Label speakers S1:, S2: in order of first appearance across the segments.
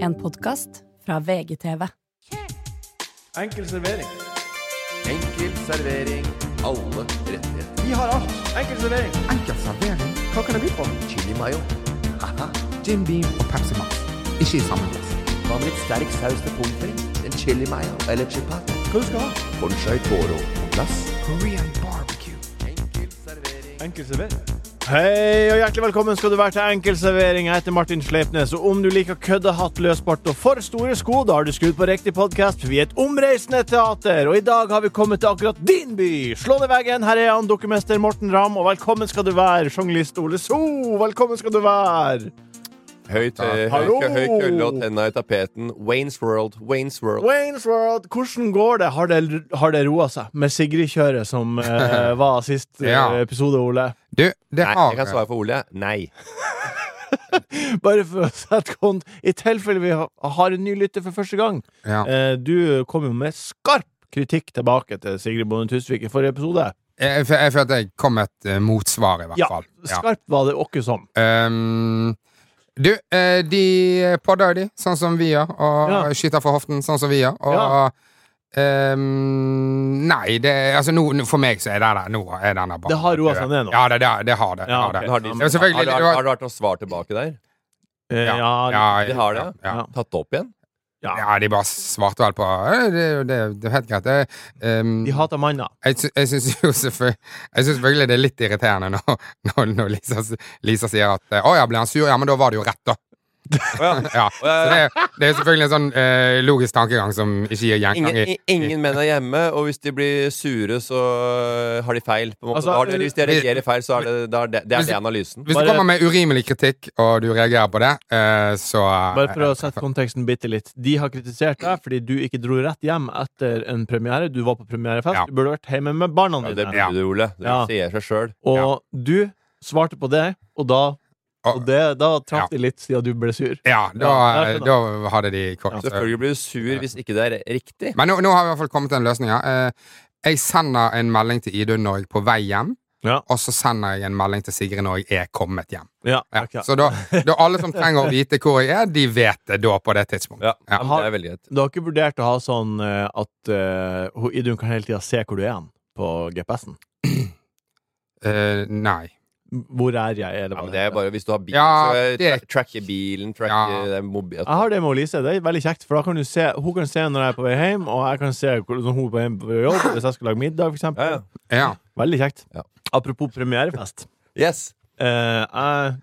S1: En podkast fra VGTV.
S2: Enkel servering.
S3: Enkel servering. Alle rettigheter.
S2: Vi har alt. Enkel servering.
S4: Enkel servering,
S2: Hva kan det by på?
S3: Chili mayo. Haha.
S4: Jim Beam og Pepsi Max. Ikke i samme glass.
S3: Hva med litt sterk saus til pommes frites? En chili mayo eller chipat?
S2: Hva du skal ha?
S3: Conchai toro på plass.
S4: Korean barbecue.
S3: Enkel servering.
S2: Enkel servering. Hei og hjertelig velkommen skal du være til Enkel servering. Jeg heter Martin Sleipnes, og om du liker køddehatt, løsbart og for store sko, da har du skutt på riktig podkast. Vi er et omreisende teater, og i dag har vi kommet til akkurat din by. Slå ned veggen, her er han, dokumester Morten Ramm, og velkommen skal du være, sjonglist Ole So. Velkommen skal du være.
S3: Høyt, eh, høy,
S2: Hallo!
S3: kø- høy kølle og tenna i tapeten. Waynes World. Waynes World.
S2: Waynes World, hvordan går det? Har det, har det roa seg med Sigrid-kjøret som eh, var sist eh,
S4: Ja.
S2: episode, Ole?
S4: Du, det
S3: Nei,
S4: har
S3: jeg kan svare for Ole. Nei.
S2: Bare for å sette kont I tilfelle vi ha- har en ny lytter for første gang
S4: Ja.
S2: eh, Du kom jo med skarp kritikk tilbake til Sigrid Bonde Tusvik i forrige episode
S4: Eh, Jeg, jeg, jeg følte jeg kom med et eh, motsvar, i hvert
S2: Ja,
S4: fall.
S2: skarp var det åkke som
S4: Ehm, du, eh, de podder jo de, sånn som vi gjør, og
S2: Ja.
S4: skyter fra hoften, sånn som vi gjør, og
S2: Ja.
S4: ehm, Nei, det Altså, nå, nå- for meg så er det der. Nå er denne bare
S2: Det har roet seg ned nå.
S4: Ja, det, det, det har det. det,
S2: Ja,
S4: har det.
S2: ok.
S3: Men har, de,
S2: Ja,
S4: men selvfølgelig,
S3: har,
S4: det
S3: har,
S4: var-
S3: har det vært noe svar tilbake der?
S2: eh, ja, ja,
S4: Ja,
S3: De har det,
S4: Ja,
S2: ja.
S3: Tatt det opp igjen?
S2: ja.
S4: ja, de bare svarte vel på «Eh, Det, det, det er helt greit. Det, ehm,
S2: De hater manna
S4: Jeg, sy jeg syns jo selvfølgelig, jeg synes selvfølgelig det er litt irriterende når, når, når Lisa, s- Lisa sier at eh, Å ja, ble han sur? Ja, men da var det jo rett, da. ja. Så det, det er selvfølgelig en sånn eh, logisk tankegang som ikke gir gjenklang
S3: Ingen,
S4: i
S3: i- ingen menn er hjemme, og hvis de blir sure, så øh, har de feil. På en måte.
S2: Altså,
S3: Da har de, hvis de reagerer feil, så er det, da er det, det, er
S4: Hvis-
S3: det analysen.
S4: Hvis
S2: Bare-
S4: du kommer med urimelig kritikk, og du reagerer på det, eh, så
S2: Bare for å sette konteksten bitte litt De har kritisert deg fordi du ikke dro rett hjem etter en premiere Du var på premierefest
S4: Ja.
S2: Du burde vært hjemme med barna
S3: Ja, det
S2: dine
S3: burde du, Ole. Det
S2: Ja.
S3: sier seg sjøl.
S2: Og du svarte på det Og da, og
S4: og,
S2: det, da traff
S4: Ja.
S2: de litt siden du ble sur
S4: eh, Ja, da,
S2: Ja, jeg skjønner.
S4: da hadde de kort. eh.
S3: Selvfølgelig blir du sur hvis ikke det er riktig.
S4: Men nå, nå har vi i hvert fall kommet til en løsning. Ja. Eh, jeg sender en melding til Idun når jeg er på vei hjem,
S2: Ja.
S4: og så sender jeg en melding til Sigrid når jeg er kommet hjem.
S2: Ja,
S4: Ja,
S2: ok.
S4: Så da, da alle som trenger å vite hvor jeg er, de vet det da på det tidspunktet.
S3: Ja,
S4: Ja.
S3: men Det er veldig greit.
S2: Du har ikke vurdert å ha sånn eh, at eh, ho- Idun kan hele tida se hvor du er hen på GPS-en?
S4: Eh, nei.
S2: Hvor er jeg? Eller
S3: Ja,
S2: hva
S3: men
S2: det
S3: det er
S2: heter.
S3: bare hvis du har bil,
S4: Ja,
S3: så eh, tra
S4: det-
S3: tracke bilen, tracke
S4: Ja.
S3: det er mobil
S2: Jeg har det med Lise. Det er veldig kjekt, for da kan du se Hun kan se når jeg er på vei hjem, og jeg kan se hvordan hun er på vei hjem på jobb, hvis jeg skal lage middag, for
S3: ja,
S2: eksempel.
S3: ja.
S4: Ja.
S2: Veldig kjekt.
S3: Ja.
S2: Apropos premierefest.
S3: Yes!
S2: Eh, jeg- det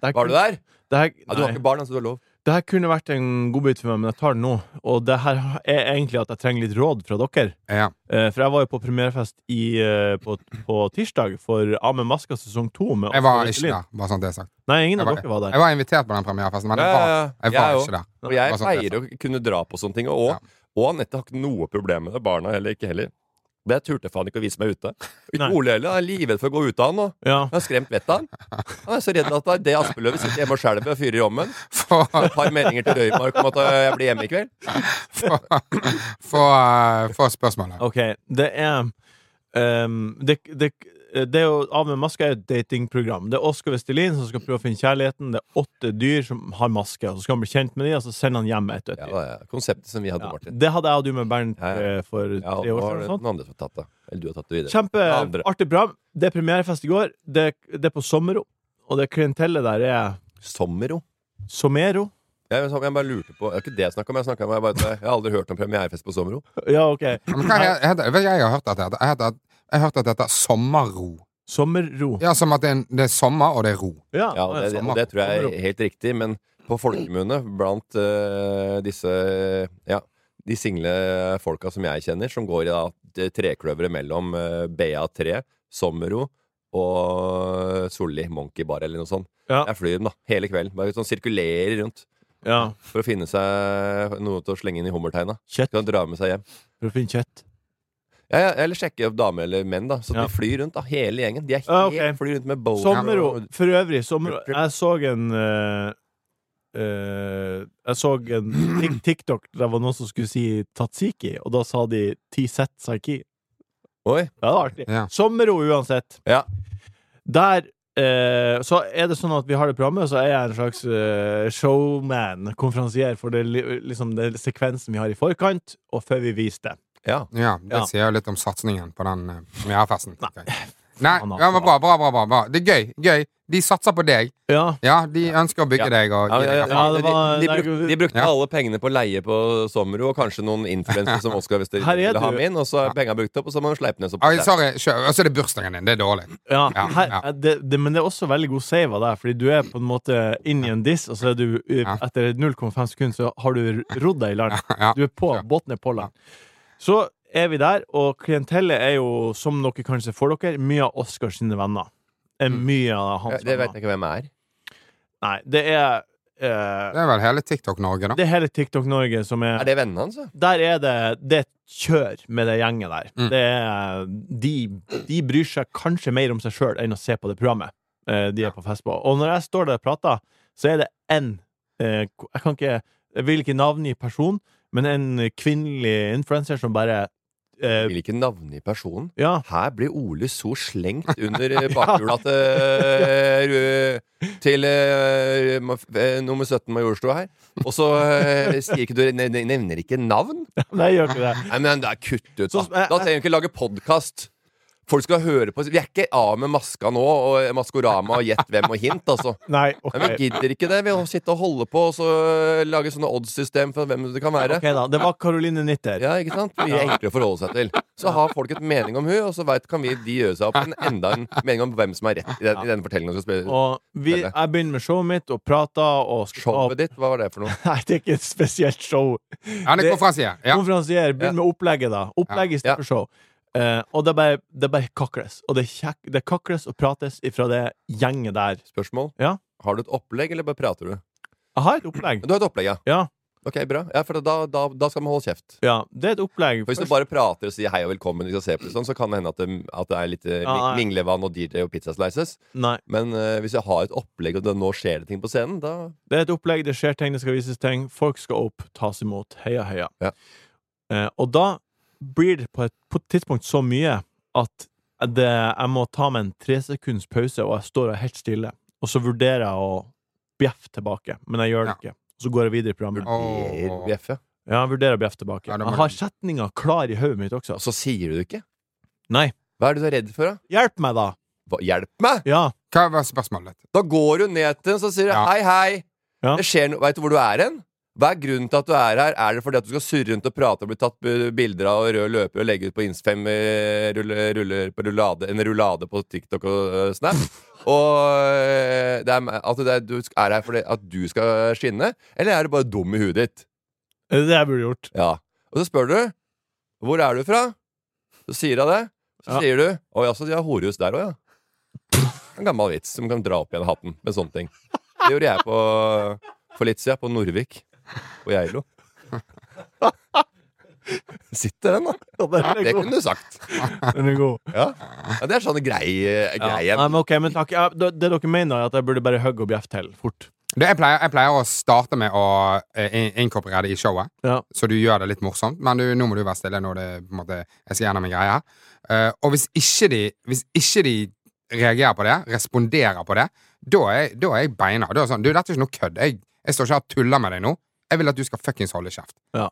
S2: her
S3: Var du
S2: kunne-
S3: der?
S2: Det her,
S3: Ja, du har
S2: nei.
S3: ikke barn, altså. Du har lov.
S2: det her kunne vært en godbit for meg, men jeg tar den nå. Og det her er egentlig at jeg trenger litt råd fra dere.
S4: ja.
S2: Eh, for jeg var jo på premierefest i, eh, på, på tirsdag for Amen Maska sesong to. med Oskar
S4: Jeg var ikke
S2: Østerlin.
S4: der, bare sånn det er sagt.
S2: Nei, ingen
S4: Jeg
S2: av
S4: var,
S2: dere var der.
S4: jeg var invitert på den premierefesten, men jeg
S3: Ja, ja,
S4: var,
S3: ja.
S4: jeg
S3: Jeg
S4: var
S3: også.
S4: ikke der.
S3: Og
S4: Bare
S3: jeg
S4: sånn det er
S3: pleier å
S4: sagt.
S3: kunne dra på sånne ting. Og, og, og Anette har ikke noe problem med det. Barna heller ikke heller. Det turte faen ikke å vise meg ute. Ikke
S2: Nei.
S3: Ole heller. Han er livredd for å gå ut av han nå.
S2: Ja.
S3: Han har skremt vettet av han. Han er så redd at det er Aspeløvet sitter hjemme og skjelver og fyrer i ovnen.
S4: For,
S3: Et par meldinger til Røymark om at øh, jeg blir hjemme i kveld.
S4: for, for, eh, for spørsmålet.
S2: Ok, det er ehm, det, det, det er jo Av med maske er jo et datingprogram. Det er Oskar Vestelin som skal prøve å finne kjærligheten. Det er åtte dyr som har maske, og så skal han bli kjent med dem, og så sender han hjem ett og ett
S3: Ja,
S2: dyr.
S3: ja, ja. Konseptet som vi hadde,
S2: Ja,
S3: Martin.
S2: det hadde jeg og du med Bernt
S3: Ja, ja.
S2: eh, for
S3: Ja, og
S2: tre år
S3: nå har
S2: siden.
S3: det
S2: eller sånt.
S3: noen andre som har tatt det. Eller du har tatt det videre. Den andre.
S2: Kjempeartig program. Det er premierefest i går. Det, det er på Sommero, og det klientellet der er
S3: Sommero.
S2: Somero.
S3: Jeg, jeg, jeg bare lurte på Det er ikke det jeg snakka om. Jeg, snakket om jeg, bare, jeg har aldri hørt om premierefest på Sommero.
S2: Ja, OK.
S4: Men hva he- heter det? Vet du, Jeg har hørt at det heter Jeg heter- jeg har hørt at det heter sommerro.
S2: Sommerro.
S4: Ja, som at det er, en, det er sommer, og det er ro.
S2: Ja,
S3: Ja, og det, det,
S2: sånn.
S3: og det tror jeg er helt riktig, men på folkemunne blant øh, disse Ja, de single folka som jeg kjenner, som går i da, det trekløveret mellom øh, BA3, Sommero og Solli Monkey Bar eller noe sånt.
S2: Ja.
S3: Jeg flyr dem da, hele kvelden. Bare sånn sirkulerer rundt
S2: ja.
S3: for å finne seg noe til å slenge inn i hummerteina.
S2: Kjøtt.
S3: Kan dra med seg hjem.
S2: For å finne kjøtt.
S3: Ja, ja, eller sjekke opp damer eller menn, da. Så
S2: Ja.
S3: de flyr rundt, da. Hele gjengen. De er helt,
S2: Ja, ok.
S3: flyr rundt med boner.
S2: Sommero,
S3: og-
S2: for øvrig sommero, Jeg så en eh, eh, Jeg så en tik- TikTok der var noen som skulle si tatsiki, og da sa de tiset saiki. Ja,
S3: Oi.
S2: det var artig.
S4: Ja.
S2: Sommero uansett.
S3: Ja.
S2: Der eh, så er det sånn at vi har det programmet, så er jeg en slags eh, showman, konferansier, for det, li- liksom, det er sekvensen vi har i forkant, og før vi viser det.
S3: Ja.
S4: Ja, det
S2: Ja.
S4: sier jo litt om satsingen på den eh, premierefesten. tenker jeg. Nei,
S2: Faen,
S4: ja, men bra, bra, bra, bra, bra. Det er gøy. gøy. De satser på deg.
S2: Ja,
S4: Ja, de ønsker å bygge
S3: Ja.
S4: deg. Og,
S3: Ja,
S4: gi
S3: ja,
S4: deg
S3: ja,
S4: erfaring.
S2: Ja,
S3: de,
S2: det var-
S3: de, bruk, de brukte
S4: Ja.
S3: alle pengene på leie på Sommero, og kanskje noen influensere som Oskar hvis de
S2: Her er
S3: ville ha
S2: du.
S3: med inn. Og så er penga brukt opp, og så må man sleipe ned så
S4: Oi, sorry, kjør. Og så er det bursdagen din. Det er dårlig.
S2: ja,
S4: Ja,
S2: her,
S4: ja.
S2: Det, det, men det er også veldig god save av deg, fordi du er på en måte inn i en diss, og så er du eh,
S4: Ja.
S2: etter 0,5 sekunder så har du rodd deg i land.
S4: Ja.
S2: Du er på,
S4: Ja.
S2: båten er på land. Så er vi der, og klientellet er jo, som dere kanskje får dere, mye av Oskars sine venner. Er
S4: Mm.
S2: mye av
S3: Ja,
S2: hans
S3: det vet
S2: venner.
S3: jeg ikke hvem jeg er.
S2: Nei, det er eh,
S4: Det er vel hele TikTok-Norge, da.
S2: Det er hele TikTok-Norge som er,
S3: Er det vennene hans? da?
S2: Der er det Det er et kjør med det gjenget der.
S4: Mm.
S2: Det er, de, de bryr seg kanskje mer om seg sjøl enn å se på det programmet eh, de er på fest på. Og når jeg står der og prater, så er det én Jeg kan ikke Jeg vil ikke navngi person, men en kvinnelig influenser som bare eh,
S3: Vil ikke navngi personen.
S2: Ja.
S3: Her blir Ole så slengt under eh, bakhjula til, eh, til eh, ma- eh, nummer 17 Majorstua her. Og så eh, sier ikke du ne- ne- nevner ikke navn?
S2: Nei, jeg gjør ikke det.
S3: Nei, men det er kutt ut. Da,
S2: Så- eh,
S3: da trenger vi ikke lage podkast. Folk skal høre på Vi er ikke av med maska nå, og Maskorama og Gjett hvem og hint, altså.
S2: Nei,
S3: Nei,
S2: ok.
S3: men Vi gidder ikke det. Vi må sitte og holde på og så eh, lage sånne oddssystem for hvem det kan være.
S2: Ok da, Det var Caroline Nitter.
S3: Ja, ikke sant? Mye enklere å forholde seg til. Så har folk et mening om hun, og så vet, kan vi de gjøre seg opp en enda en mening om hvem som er rett i den, i den fortellingen som skal spille.
S2: Og vi,
S3: Veldig.
S2: jeg begynner med showet mitt og prater og og-
S3: Showet ditt, hva var det for noe?
S2: Nei, det er ikke et spesielt show.
S4: Ja, det er
S2: det-
S4: konferansier. Ja.
S2: Konferansier, begynn med opplegget, da. Opplegg i
S3: Ja.
S2: stedet for show. Eh, og det bare, det bare kakles. Og det, kjekk, det kakles og prates ifra det gjenget der.
S3: Spørsmål?
S2: Ja.
S3: Har du et opplegg, eller bare prater du?
S2: Jeg har et opplegg.
S3: Du har et opplegg, ja.
S2: Ja.
S3: Ok, bra. Ja, for da, da, da skal man holde kjeft.
S2: Ja, det er et opplegg.
S3: For Hvis du
S2: Først-
S3: bare prater og sier hei og velkommen, vi skal se på det sånn, så kan det hende at det, at det er litt eh,
S2: Ja, ja.
S3: minglevann og DJ og pizzaslices.
S2: Nei.
S3: Men eh, hvis jeg har et opplegg, og det, nå skjer det ting på scenen, da
S2: Det er et opplegg, det skjer ting, det skal vises ting. Folk skal opp, tas imot. Heia, heia.
S3: Ja.
S2: Eh, og da blir det på et, på et tidspunkt så mye at det, jeg må ta meg en tresekunds pause, og jeg står helt stille. Og så vurderer jeg å bjeffe tilbake, men jeg gjør det ikke. Så går jeg videre i programmet.
S3: blir
S4: Åh.
S3: bjeffe.
S2: Ja, jeg vurderer å bjeffe tilbake.
S4: Ja, da
S2: jeg
S4: må du-
S2: har setninga klar i hodet mitt også.
S3: Og så sier du det ikke.
S2: Nei.
S3: Hva er det du er redd for, da?
S2: Hjelp meg, da!
S3: Hva, hjelp meg!
S2: Ja.
S4: Hva var spørsmålet ditt?
S3: Da går du ned til den, så sier du
S4: Ja.
S3: hei, hei.
S2: Ja.
S3: Det skjer noe. Veit du hvor du er hen? Hva er grunnen til at du er her? Er det fordi at du skal surre rundt og prate og bli tatt b- bilder av og rød løper og legge ut på Insta fem eh, rulle- ruller på rullade, en rullade på TikTok og eh, Snap? Og eh, det er, me- at det er, du sk- er her fordi at du skal skinne, eller er du bare dum i huet ditt?
S2: Det er det jeg burde gjort.
S3: Ja. Og så spør du hvor er du fra? Så sier hun det. Så
S2: Ja.
S3: sier du å ja, så de har horehus der òg, ja. En gammel vits som kan dra opp igjen hatten med sånne ting. Det gjorde jeg på, for litt siden på Norvik på Geilo. Sitter den, da?
S2: Ja, den er
S3: Det
S2: god.
S3: kunne du sagt.
S2: Den er god.
S3: Ja, ja Det er sånn greie,
S2: Ja.
S3: greie.
S2: Nei, men ok, men takk. Ja, det, det dere mener, er at jeg burde bare hugge og bjeffe til fort.
S4: Du, jeg, pleier, jeg pleier å starte med å eh, in- inkorporere det i showet,
S2: Ja.
S4: så du gjør det litt morsomt. Men du, nå må du være stille når det, på en måte, jeg skal gjennom en greie her. Eh, og hvis ikke, de, hvis ikke de reagerer på det, responderer på det, da er, jeg- da er jeg beina. Da er det sånn, du, dette er ikke noe kødd. Jeg, jeg står ikke her og tuller med deg nå. Jeg vil at du skal fuckings holde kjeft.
S2: Ja.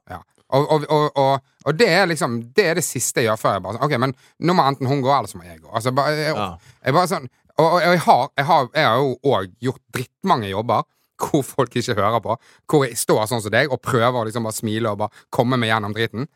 S4: Og, og, og, og, og det er liksom Det er det siste jeg gjør før jeg bare sånn OK, men nå må enten hun gå, eller så må jeg gå. Altså, bare, jeg,
S2: Ja.
S4: jeg bare sånn Og, og jeg, har, jeg, har, jeg har jo òg gjort drittmange jobber hvor folk ikke hører på. Hvor jeg står sånn som deg og prøver å liksom bare smile og bare komme meg gjennom driten.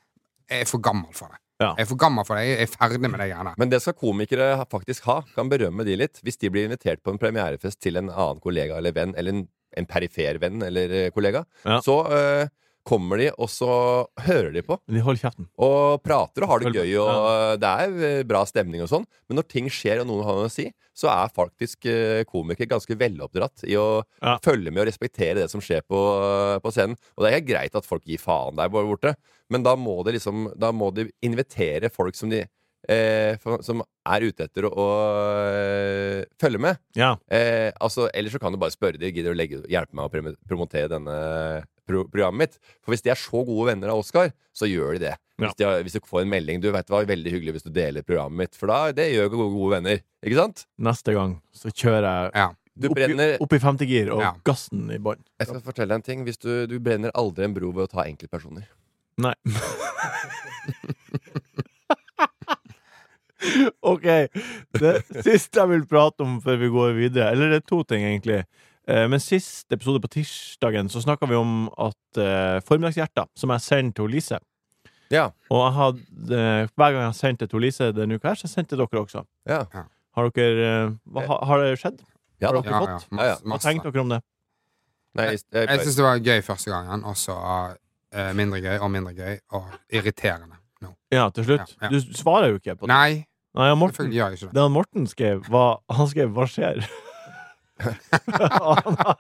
S4: Jeg er for gammel for det.
S2: Ja.
S4: Jeg er for gammel for det. Jeg er ferdig med det greiene.
S3: Men det skal komikere ha- faktisk ha. Kan berømme de litt. Hvis de blir invitert på en premierefest til en annen kollega eller venn, eller en, en perifer venn eller eh, kollega,
S2: Ja.
S3: så eh, kommer de, og så hører de på.
S2: Men de holder kjeften.
S3: Og prater og har det
S2: Følg-
S3: gøy, og eh, det er eh, bra stemning og sånn. Men når ting skjer og noen har noe å si, så er faktisk eh, komikere ganske veloppdratt i å
S2: Ja.
S3: følge med og respektere det som skjer på, eh, på scenen. Og det er helt greit at folk gir faen der borte, men da må, det liksom, da må de invitere folk som de eh, for- som er ute etter å, å eh, følge med.
S2: Ja.
S3: Eh, altså, ellers så kan du bare spørre de Gidder du å legge, hjelpe meg å prom- promotere denne programmet mitt. For hvis de er så gode venner av Oskar, så gjør de det.
S2: Ja.
S3: Hvis, de har, hvis du får en melding Du vet det var veldig hyggelig hvis du deler programmet mitt, for da det gjør gode, gode venner. Ikke sant?
S2: Neste gang så kjører jeg
S4: Ja.
S3: Du
S2: opp, i,
S3: brenner
S2: opp i femte gir og
S4: Ja.
S2: gassen i bånn.
S3: Jeg skal fortelle deg en ting. Hvis du, du brenner aldri en bro ved å ta enkeltpersoner.
S2: Nei. ok. Det siste jeg vil prate om før vi går videre, eller det er to ting, egentlig. Eh, Men sist episode på tirsdagen så snakka vi om at eh, Formiddagshjerter, som jeg sender til Lise
S3: Ja.
S2: Og jeg hadde, eh, hver gang jeg har sendt det til Lise denne uka, her, så sendte jeg dere også.
S3: Ja.
S2: Har dere eh, hva, ha- Har det skjedd?
S3: ja da.
S2: Har dere
S4: Ja, ja.
S2: fått?
S3: Ja, ja.
S4: Masse,
S2: Hva
S4: masse.
S2: tenkte dere om det?
S3: Nei, jeg, jeg,
S4: Jeg syns det var gøy første gangen, og så eh, mindre gøy og mindre gøy og irriterende nå.
S2: Ja, til slutt.
S4: Ja, ja.
S2: Du svarer jo ikke på det.
S4: Nei,
S2: Nei, ja, Morten,
S4: selvfølgelig gjør jeg ikke det.
S2: det han Morten skrev, var Han skrev 'Hva skjer?' han, har-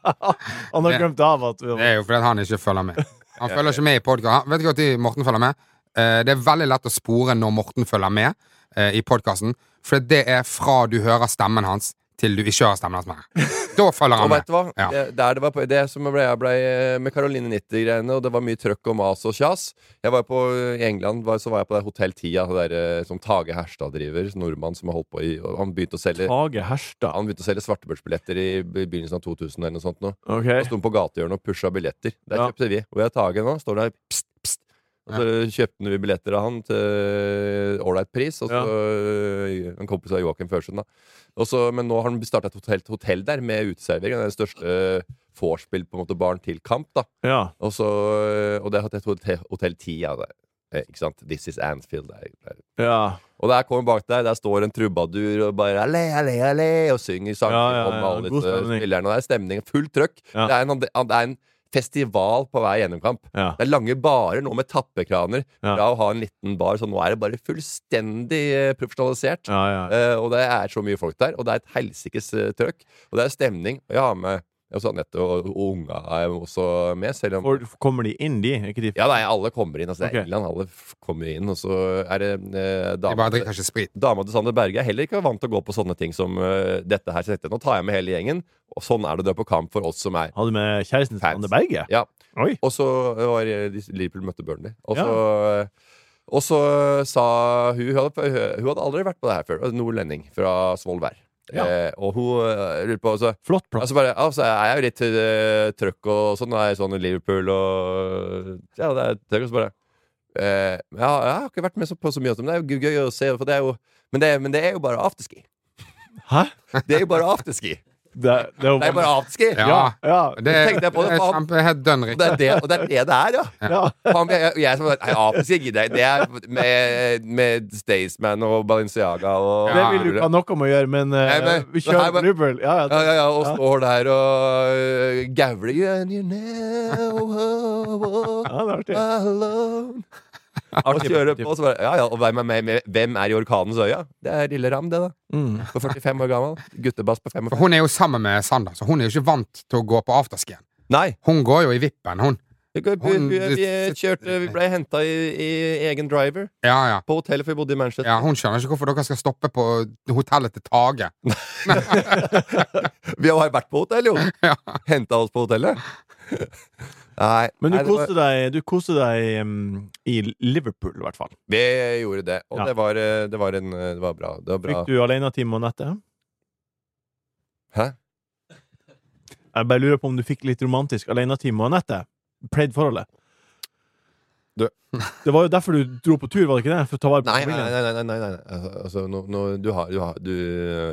S2: han har
S4: Det-
S2: glemt av at vi
S4: Det er jo fordi at han ikke følger med. Han
S3: Ja,
S4: følger ikke med i podkasten. Vet du hvor tid Morten følger med? Eh, Det er veldig lett å spore når Morten følger med eh, i podkasten, for det er fra du hører stemmen hans, til du ikke hører stemmen hans mer. Da følger
S3: Og
S4: han
S3: vet
S4: med.
S3: du hva?
S4: Ja.
S3: Det, der det, var, på- det som jeg ble, jeg ble eh, med Caroline 90-greiene, og det var mye trøkk og mas og kjas. Jeg var på, I England var, så var jeg på det Hotell Tia, det der, eh, som Tage Herstad driver. Nordmann som har holdt på i og Han begynte å selge
S2: Hage Herstad.
S3: han begynte å selge svartebørsbilletter i be- begynnelsen av 2000. eller noe sånt nå.
S2: Ok.
S3: Da sto han på gatehjørnet og pusha billetter. Der
S2: Ja.
S3: kjøpte vi. Hvor er Tage nå? Står der pst, pst. Og så kjøpte vi billetter av han til ålreit pris. Og så øh, En kompis av Joakim Førsund, da. Og så- men nå har han starta et hotell, hotell der med uteservering. Det er det største øh, vorspiel på en måte barn til kamp, da.
S2: Ja.
S3: Og, så, øh, og det har et hotell, hotell 10 av det. Eh, Ikke sant? This is Anfield. Det er, det er
S2: ja.
S3: og der kommer bak deg, der står en trubadur og bare alle, alle, alle, og synger sanger
S2: Ja, ja, ja,
S3: om alle
S2: god
S3: disse
S2: stemning.
S3: spillerne. Og det er stemning, fullt trøkk.
S2: Ja.
S3: Det, er en, det er en festival på hver gjennomkamp.
S2: ja.
S3: Det er lange barer nå med tappekraner
S2: Ja.
S3: fra å ha en liten bar, så nå er det bare fullstendig eh, profesjonalisert.
S2: Ja, ja.
S3: Eh, og det er så mye folk der, og det er et helsikes eh, trøkk. Og det er stemning. Og jeg har med også Anette og, og unga er jo også med, selv om
S2: For, kommer de inn, de? Ikke de?
S3: ja, nei, alle kommer inn. Altså, det er
S2: Ok.
S3: England, alle f- kommer inn. Og så er det eh,
S4: De bare drikker ikke sprit.
S3: Dama til Sander Berge er heller ikke vant til å gå på sånne ting som øh, dette her. Så tenkte jeg, Nå tar jeg med hele gjengen, og sånn er det å dra på kamp for oss som er
S2: Hadde med kjæresten til
S3: Fans.
S2: Anne Berge?
S3: Ja.
S2: Oi.
S3: Og så eh, var det- de- Liverpool møtte Burnley. Og
S2: Ja.
S3: så, eh, og så sa hun hun hadde, hun hadde aldri vært på det her før. Nordlending fra Svolvær.
S2: Ja.
S3: Eh, og hun øh, lurte på så,
S2: Flott plass.
S3: Altså bare, altså jeg er jo litt eh, trøkk og sånn, og er sånn i Liverpool og Ja, det er trøkk, og så bare eh, ja, Jeg har ikke vært med så, på så mye, men det er jo gøy å se, for det er jo Men det, er- men det er jo bare afterski.
S2: Hæ?
S3: Det er jo bare afterski.
S2: Det, det er jo
S3: Det er bare afterski.
S4: Ja.
S2: Ja. Ja.
S4: Det er,
S3: tenkte
S4: det
S3: jeg på det,
S4: er
S3: faen.
S4: kjempe, helt dønn
S3: Og det
S4: riktig.
S3: er det, og det er det det er, ja.
S2: ja.
S3: Faen, jeg, jeg, jeg som bare, Nei, afterski gidder jeg ikke. Det er med, med Staysman og Balenciaga og
S2: Det vil du ikke ha noe med å gjøre, men eh,
S3: Nei, men-
S2: vi
S3: Nei,
S2: kjører
S3: men-
S2: Liverpool. Ja,
S3: Ja,
S2: ja.
S3: ja, ja, og står der og uh, gauler And you never walk
S2: ja, det er artig.
S3: oh, alone Og kjører på, og så bare Ja, ja, og hvem er, med, med, hvem er i orkanens øya? Det er Lille Ram, det, da.
S2: Mm.
S3: På 45 år gammel. Guttebass på 45.
S4: For hun er jo sammen med Sander, så hun er jo ikke vant til å gå på afterskien.
S3: Nei!
S4: Hun går jo i vippen, hun.
S3: Vi, går- vi, vi, vi kjørte Vi ble henta i, i egen driver
S4: Ja, ja.
S3: på hotellet, for vi bodde i Manchester.
S4: ja. Hun skjønner ikke hvorfor dere skal stoppe på hotellet til Tage.
S3: Vi har jo vært på hotell, jo!
S4: Ja.
S3: Henta oss på hotellet. Nei.
S2: Men du
S3: nei, det var-
S2: koste deg, du koste deg em, i Liverpool, i hvert fall.
S3: Vi gjorde det, og
S2: Ja.
S3: det, var, eh, det var en eh, Det var bra. Det var bra.
S2: Fikk du alenetime og nettet?
S3: Hæ?
S2: Jeg bare lurer på om du fikk litt romantisk alenetime og nettet? Pleid forholdet?
S3: Du-
S2: Det var jo derfor du dro på tur, var det ikke det? For å ta vare på
S3: Nei, nei,
S2: familien?
S3: nei, nei, nei, nei. Altså, altså, nå, nå, du har, du har du,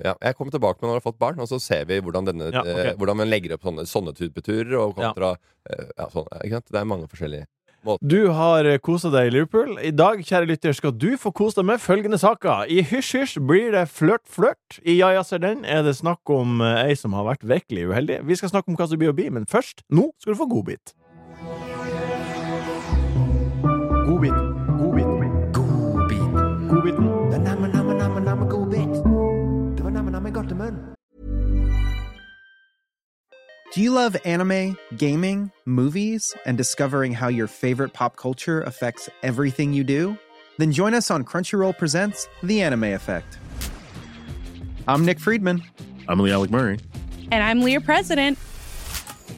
S3: ja, Jeg kommer tilbake med når jeg har fått barn, og så ser vi hvordan, denne,
S2: Ja, ok.
S3: eh, hvordan man legger opp sånne, sånne typer turer. Og kontra, eh, ja, sånn, ikke sant? Det er mange forskjellige
S2: Du har kosa deg i Liverpool. I dag, kjære lytter, skal du få kose deg med følgende saker. I Hysj Hysj blir det flørt-flørt. I Ja ja ser den er det snakk om eh, ei som har vært virkelig uheldig. Vi skal snakke om hva som blir å bli, men først, nå skal du få godbit. Godbit. Godbit. Godbiten.
S5: Do you love anime, gaming, movies, and discovering how your favorite pop culture affects everything you do? Then join us on Crunchyroll Presents The Anime Effect. I'm Nick Friedman.
S6: I'm Lee Alec Murray.
S7: And I'm Leah President.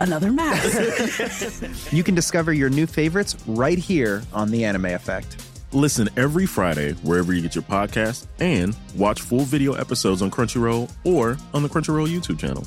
S1: another mask.
S5: you can discover your new favorites right here on The Anime Effect.
S8: Listen every Friday wherever you get your podcast and watch full video episodes on Crunchyroll or on the Crunchyroll YouTube channel.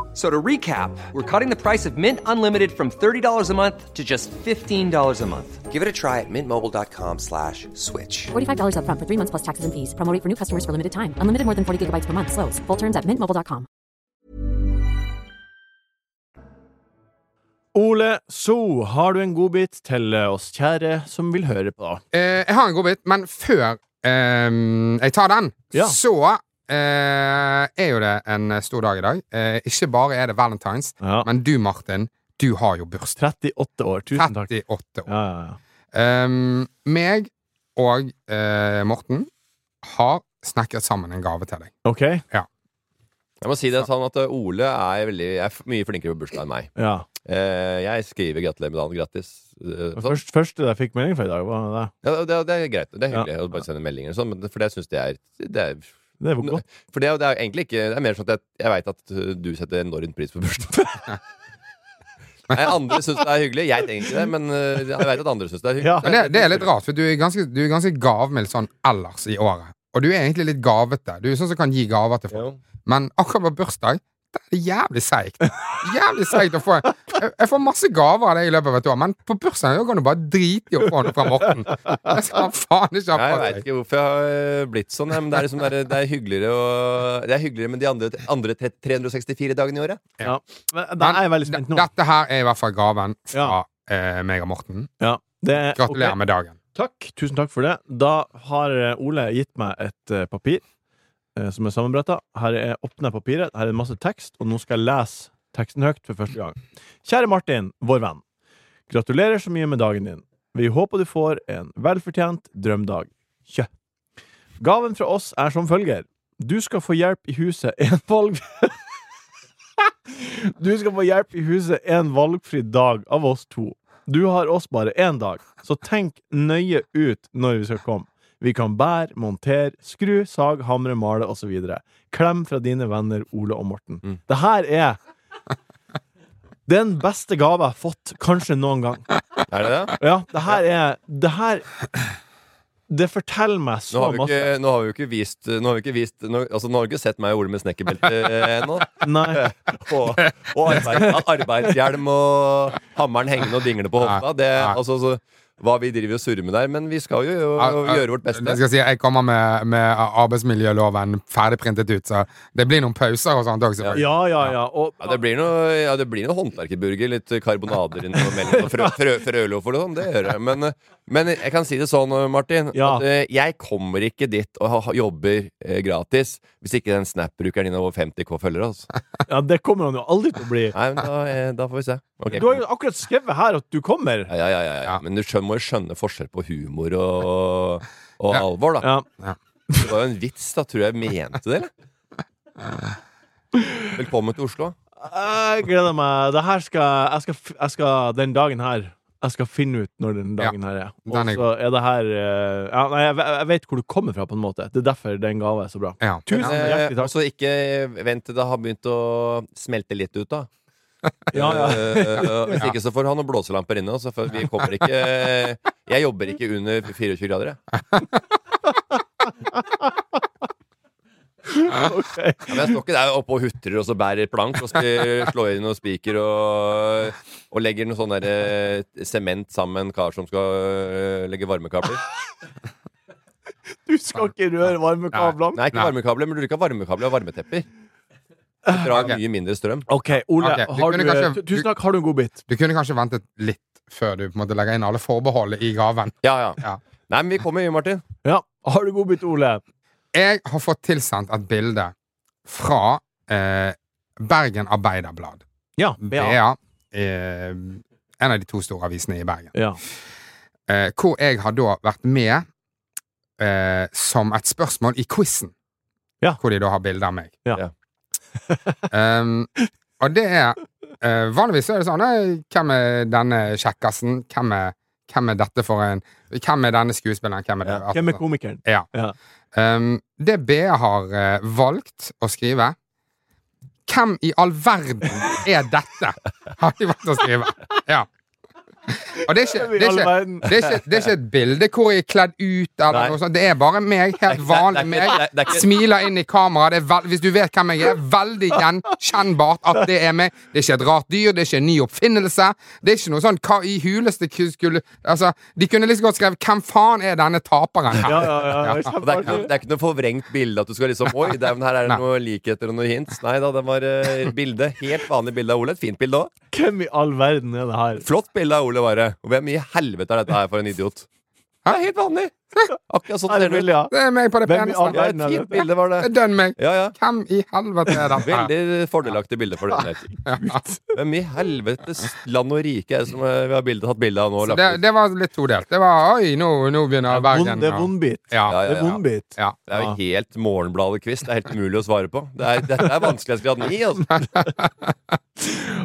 S9: So to recap, we're cutting the price of Mint Unlimited from $30 a month to just $15 a month. Give it a try at mintmobile.com slash switch.
S10: $45 upfront for three months plus taxes and fees. Promo rate for new customers for limited time. Unlimited more than 40 gigabytes per month. Slows. Full terms at mintmobile.com.
S2: Ole So, har du en godbit til eh, oss kjære som vil høre på?
S4: Eh, jeg har en godbit, men før ehm, jeg tar den,
S2: Ja.
S4: så eh, er jo det en stor dag i dag. Eh, ikke bare er det valentines,
S2: Ja.
S4: men du, Martin, du har jo bursdag.
S2: 38 år. Tusen takk.
S4: 38 år.
S2: Ja, ja, ja.
S4: Ehm, meg og eh, Morten har snakket sammen en gave til deg.
S2: OK?
S3: Jeg må si det sånn at eh, Ole er, veldig, er f- mye flinkere på bursdag enn meg.
S2: Ja.
S3: Eh, jeg skriver 'gratulerer med dagen', grattis. eh,
S2: Det
S3: sånn.
S2: første, første jeg fikk melding fra i dag, var det.
S3: Ja, det, det er greit. Det er hyggelig å bare sende meldinger og sånn, men- for det syns jeg er, det er
S2: Det var godt.
S3: For det, er- det er jo egentlig ikke Det er mer sånn at jeg, jeg veit at uh, du setter enormt pris på bursdag. Nei, andre syns det er hyggelig. Jeg trenger ikke det, men uh, jeg veit at andre syns det er hyggelig.
S2: Ja.
S4: Men det, det er litt rart, for du er ganske, du er ganske gavmild sånn ellers i året. Og du er egentlig litt gavete. Du er sånn som kan gi gaver til folk. Men akkurat på bursdag det er jævlig seigt. Jævlig seigt å få jeg, jeg får masse gaver av deg i løpet av et år, men på bursdagen kan du bare drite i å få noe fra Morten. Det skal han faen ikke ha
S3: Jeg
S4: på
S3: veit
S4: seg.
S3: ikke hvorfor jeg har blitt sånn, men det er, liksom, det er, det er hyggeligere å- Det er hyggeligere med de andre, andre tre- 364 dagene i året.
S2: Ja. Men, da
S4: Men
S2: er jeg veldig spent
S4: d-
S2: nå.
S4: Dette her er i hvert fall gaven fra
S2: Ja.
S4: eh, meg og Morten.
S2: Ja. Det,
S4: Gratulerer
S2: ok.
S4: med dagen.
S2: Takk. Tusen takk for det. Da har eh, Ole gitt meg et eh, papir eh, som er sammenbretta. Her er åpner jeg papiret. Her er det masse tekst, og nå skal jeg lese teksten høyt for første gang. Kjære Martin, vår venn. Gratulerer så mye med dagen din. Vi håper du får en velfortjent drømdag. Kjø. Gaven fra oss er som følger. Du skal få hjelp i huset en valg... Du skal få hjelp i huset en valgfri dag av oss to. Du har oss bare én dag, så tenk nøye ut når vi skal komme. Vi kan bære, montere, skru, sag, hamre, male osv. Klem fra dine venner Ole og Morten.
S3: Mm.
S2: Det her er den beste gave jeg har fått kanskje noen gang.
S3: Er det det?
S2: Ja, det her er Det her Det forteller meg
S3: Nå
S2: så
S3: har vi
S2: masse.
S3: ikke, nå har vi jo ikke vist Nå har vi ikke, vist, nå, altså, nå har du ikke sett meg og Ole med snekkerbelte eh, ennå.
S2: Nei.
S3: Og, og arbeid, arbeidshjelm og hammeren hengende og dinglende på hofta. Det,
S4: Nei.
S3: altså, så, hva vi driver og surrer med der. Men vi skal jo, jo
S4: Ja, ja,
S3: gjøre vårt
S4: Jeg
S3: beste.
S4: skal si, jeg kommer med, med arbeidsmiljøloven ferdigprintet ut, så det blir noen pauser og sånt òg, selvfølgelig.
S2: Ja, ja, ja. Og,
S3: Ja, det blir noe, ja, det blir noe håndverkerburger, litt karbonader inni og melk og frø, frø, frøloff og sånn. Det gjør jeg. Men, eh, men jeg kan si det sånn, eh, Martin,
S2: Ja.
S3: at eh, jeg kommer ikke dit og ha- jobber eh, gratis hvis ikke den Snap-brukeren din har over 50K følgere. Altså.
S2: ja, det kommer han jo aldri til å bli.
S3: Nei, men da, eh, da får vi se. Ok.
S2: Du har jo akkurat skrevet her at du kommer.
S3: Ja, ja, ja, ja, ja.
S4: Ja.
S3: Men du skjønner, må jo skjønne forskjell på humor og, og alvor, da.
S2: Ja.
S3: Det var jo en vits, da. Tror du jeg mente det, eller? Velkommen til Oslo.
S2: Jeg gleder meg. Det her skal, jeg skal, f- jeg skal Den dagen her Jeg skal finne ut når den dagen her er. Og
S4: den er
S2: så er det her eh, ja, nei, jeg, ve- jeg vet hvor du kommer fra, på en måte. Det er derfor den gava er så bra.
S4: Ja.
S2: Tusen
S3: Eh,
S2: hjertelig takk.
S3: altså, ikke vent til det har begynt å smelte litt ut, da.
S2: Ja, ja.
S3: Eh, eh, hvis ikke, så får han noen blåselamper inne. Altså, for vi kommer ikke Jeg jobber ikke under 24 grader, jeg. Ja, men jeg står ikke der oppe og hutrer og så bærer plank og spi- slår inn noen spiker og, og legger noe sånn der eh, sement sammen med en kar som skal eh, legge varmekabler.
S2: Du skal ikke røre
S4: Nei.
S2: varmekablene.
S3: Nei, ikke
S4: Nei.
S3: varmekabler, men du bruker varmekabler og varmetepper.
S2: Ah,
S3: Det drar mye mindre strøm.
S2: Ok, Ole,
S4: Ok,
S2: har du,
S4: kunne kanskje-
S2: tu- tusen takk, har du en god bit?
S4: Du kunne kanskje ventet litt før du på en måte legger inn alle forbeholdene i gaven.
S3: Ja, ja.
S4: Ja.
S3: Nei, men vi kommer, vi, Martin.
S2: Ja, har du godbit, Ole?
S4: Jeg har fått tilsendt et bilde fra eh, Bergen Arbeiderblad.
S2: Ja. Ja.
S4: BA. Eh, en av de to store avisene i Bergen.
S2: ja.
S4: Eh, hvor jeg har da vært med eh, som et spørsmål i quizen.
S2: Ja.
S4: Hvor de da har bilde av meg.
S2: Ja.
S3: Ja.
S4: um, og det er eh, Vanligvis så er det sånn eh, Hvem er denne kjekkasen? Hvem er, hvem er dette for en Hvem er denne skuespilleren? Hvem er det?
S2: Hvem er komikeren?
S4: Ja.
S2: Ja.
S4: Um, det BA har eh, valgt å skrive Hvem i all verden er dette? Har de valgt å skrive. Ja. Og det er ikke,
S2: Hvem i
S4: det er
S2: all
S4: ikke,
S2: verden?
S4: det er ikke, det er ikke et bilde hvor jeg er kledd ut eller
S3: Nei.
S4: noe sånt. Det er bare meg. Helt
S3: ikke-
S4: vanlig
S3: det er ikke-
S4: meg.
S3: det er ikke-
S4: Smiler inn i kameraet. Det er vel- Hvis du vet hvem jeg er, veldig gjenkjennbart at det er meg. Det er ikke et rart dyr. Det er ikke en ny oppfinnelse. Det er ikke noe sånn Hva i huleste ku- skulle Altså, de kunne liksom godt skrevet 'Hvem faen er denne taperen her?'
S2: Ja, ja, ja, det er
S3: Og det, er ikke noe,
S2: kjempeartig.
S3: det er ikke noe forvrengt bilde at du skal liksom Oi, det er, her er det
S4: Nei.
S3: noen likheter og noen hints. Nei da, det var eh, bilde. Helt vanlig bilde av Ole. Et fint bilde òg.
S2: Hvem i all verden er det her?
S3: Flott bilde av Ole, var det. Og hvem i helvete er dette her for en idiot? Det er helt vanlig. Akkurat sånn
S2: Er det
S3: ser det ut.
S2: Vilja?
S4: Det er meg på det
S2: Hvem i all
S4: peneste.
S3: Ja, et
S2: verden er
S3: fint
S2: dette?
S3: bilde var det.
S4: Det er Dønn meg.
S3: Ja, ja.
S4: Hvem i helvete er dette?
S3: Veldig fordelaktig bilde for den der. Hvem i helvetes land og rike er det som eh, vi har bilde, tatt bilde av nå? og
S4: Så
S3: lagt
S4: det,
S3: ut?
S4: det var litt todelt. Det var Oi, nå, nå begynner Bergen
S2: Vond- Det er
S4: å-
S2: vondbit.
S4: Ja.
S3: Ja,
S2: Det
S3: ja,
S2: er
S3: ja.
S2: vondbit.
S4: Ja.
S3: Det er jo helt Morgenbladet-quiz. Det er helt umulig å svare på. Det er, dette er vanskelighetsgrad 9. Altså.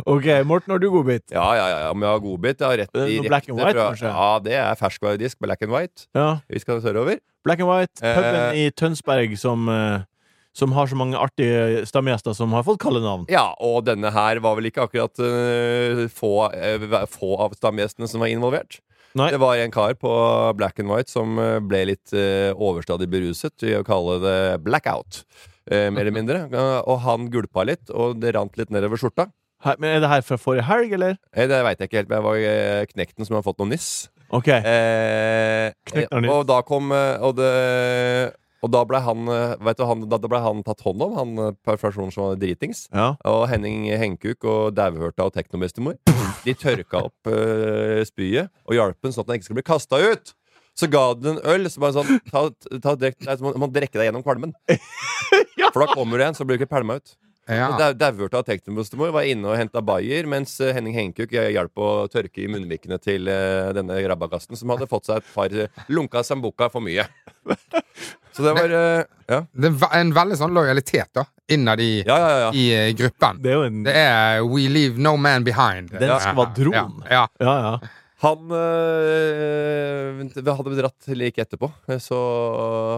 S2: Ok, Morten, har du godbit?
S3: Ja, ja, ja. Om jeg har godbit, jeg har rett
S2: Er det
S3: i
S2: noe
S3: rette.
S2: black and white,
S3: fra-
S2: kanskje?
S3: ja, det er ferskvaredisk black and white.
S2: Ja.
S3: Vi skal sørover.
S2: Black and White, puben
S3: Eh.
S2: i Tønsberg som, eh, som har så mange artige stamgjester som har fått kallenavn.
S3: Ja, og denne her var vel ikke akkurat eh, få, eh, få av stamgjestene som var involvert.
S2: Nei.
S3: Det var en kar på black and white som eh, ble litt eh, overstadig beruset i å kalle det blackout. eh, mer eller mindre. Eh, og han gulpa litt, og det rant litt nedover skjorta.
S2: Her, men Er det her fra forrige helg, eller?
S3: Eh, det veit jeg ikke helt, men jeg var eh, knekten som har fått noe nyss.
S2: Ok.
S3: Eh,
S2: Knekk noe nytt.
S3: og da kom eh, Og, det, og da ble han, eh, vet du, han da, da ble han tatt hånd om, han eh, personen som var dritings.
S2: Ja.
S3: Og Henning Hengkuk og Dauhørta og Teknobestemor De tørka opp eh, spyet og hjalp den sånn at den ikke skulle bli kasta ut. Så ga den en øl. Så bare sånn ta, ta, drikk- nei, så må, må drikke deg gjennom kvalmen. For da kommer du igjen, så blir du ikke pælma ut.
S4: Ja.
S3: Ja. Dauhørta og Teknobestemor var inne og henta bayer, mens eh, Henning Hengkuk hjalp å tørke i munnvikene til eh, denne rabagasten, som hadde fått seg et par eh, lunka sambuca for mye. Så det var eh, ja.
S4: Det er ve- en veldig sånn lojalitet da innad i,
S3: ja, ja, ja.
S4: i eh, gruppen.
S2: Det er jo en
S4: Det er eh, We leave no man behind.
S2: Den skvadron.
S4: Ja, ja.
S2: Ja, ja.
S3: Han øh, vi hadde dratt like etterpå, eh, så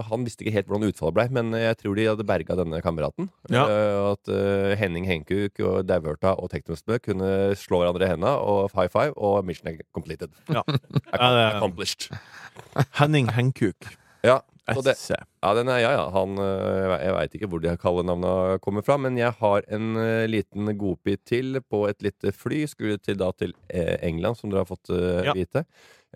S3: han visste ikke helt hvordan utfallet blei. Men jeg tror de hadde berga denne kameraten.
S2: Ja.
S3: Øh, og at øh, Henning Henkuk og Dauhørta og Teknostbø kunne slå hverandre i henda og high five, og mission completed.
S2: Ja.
S3: Accom-
S2: det-
S3: Accomplished.
S2: Eh, Henning Henkuk.
S3: Ja, så det,
S2: SC.
S3: ja, den er, ja, ja. Han, øh, jeg veit ikke hvor de kallenavna kommer fra, men jeg har en øh, liten godbit til på et lite fly. Skulle til, da, til eh, England, som dere har fått øh,
S2: Ja.
S3: vite.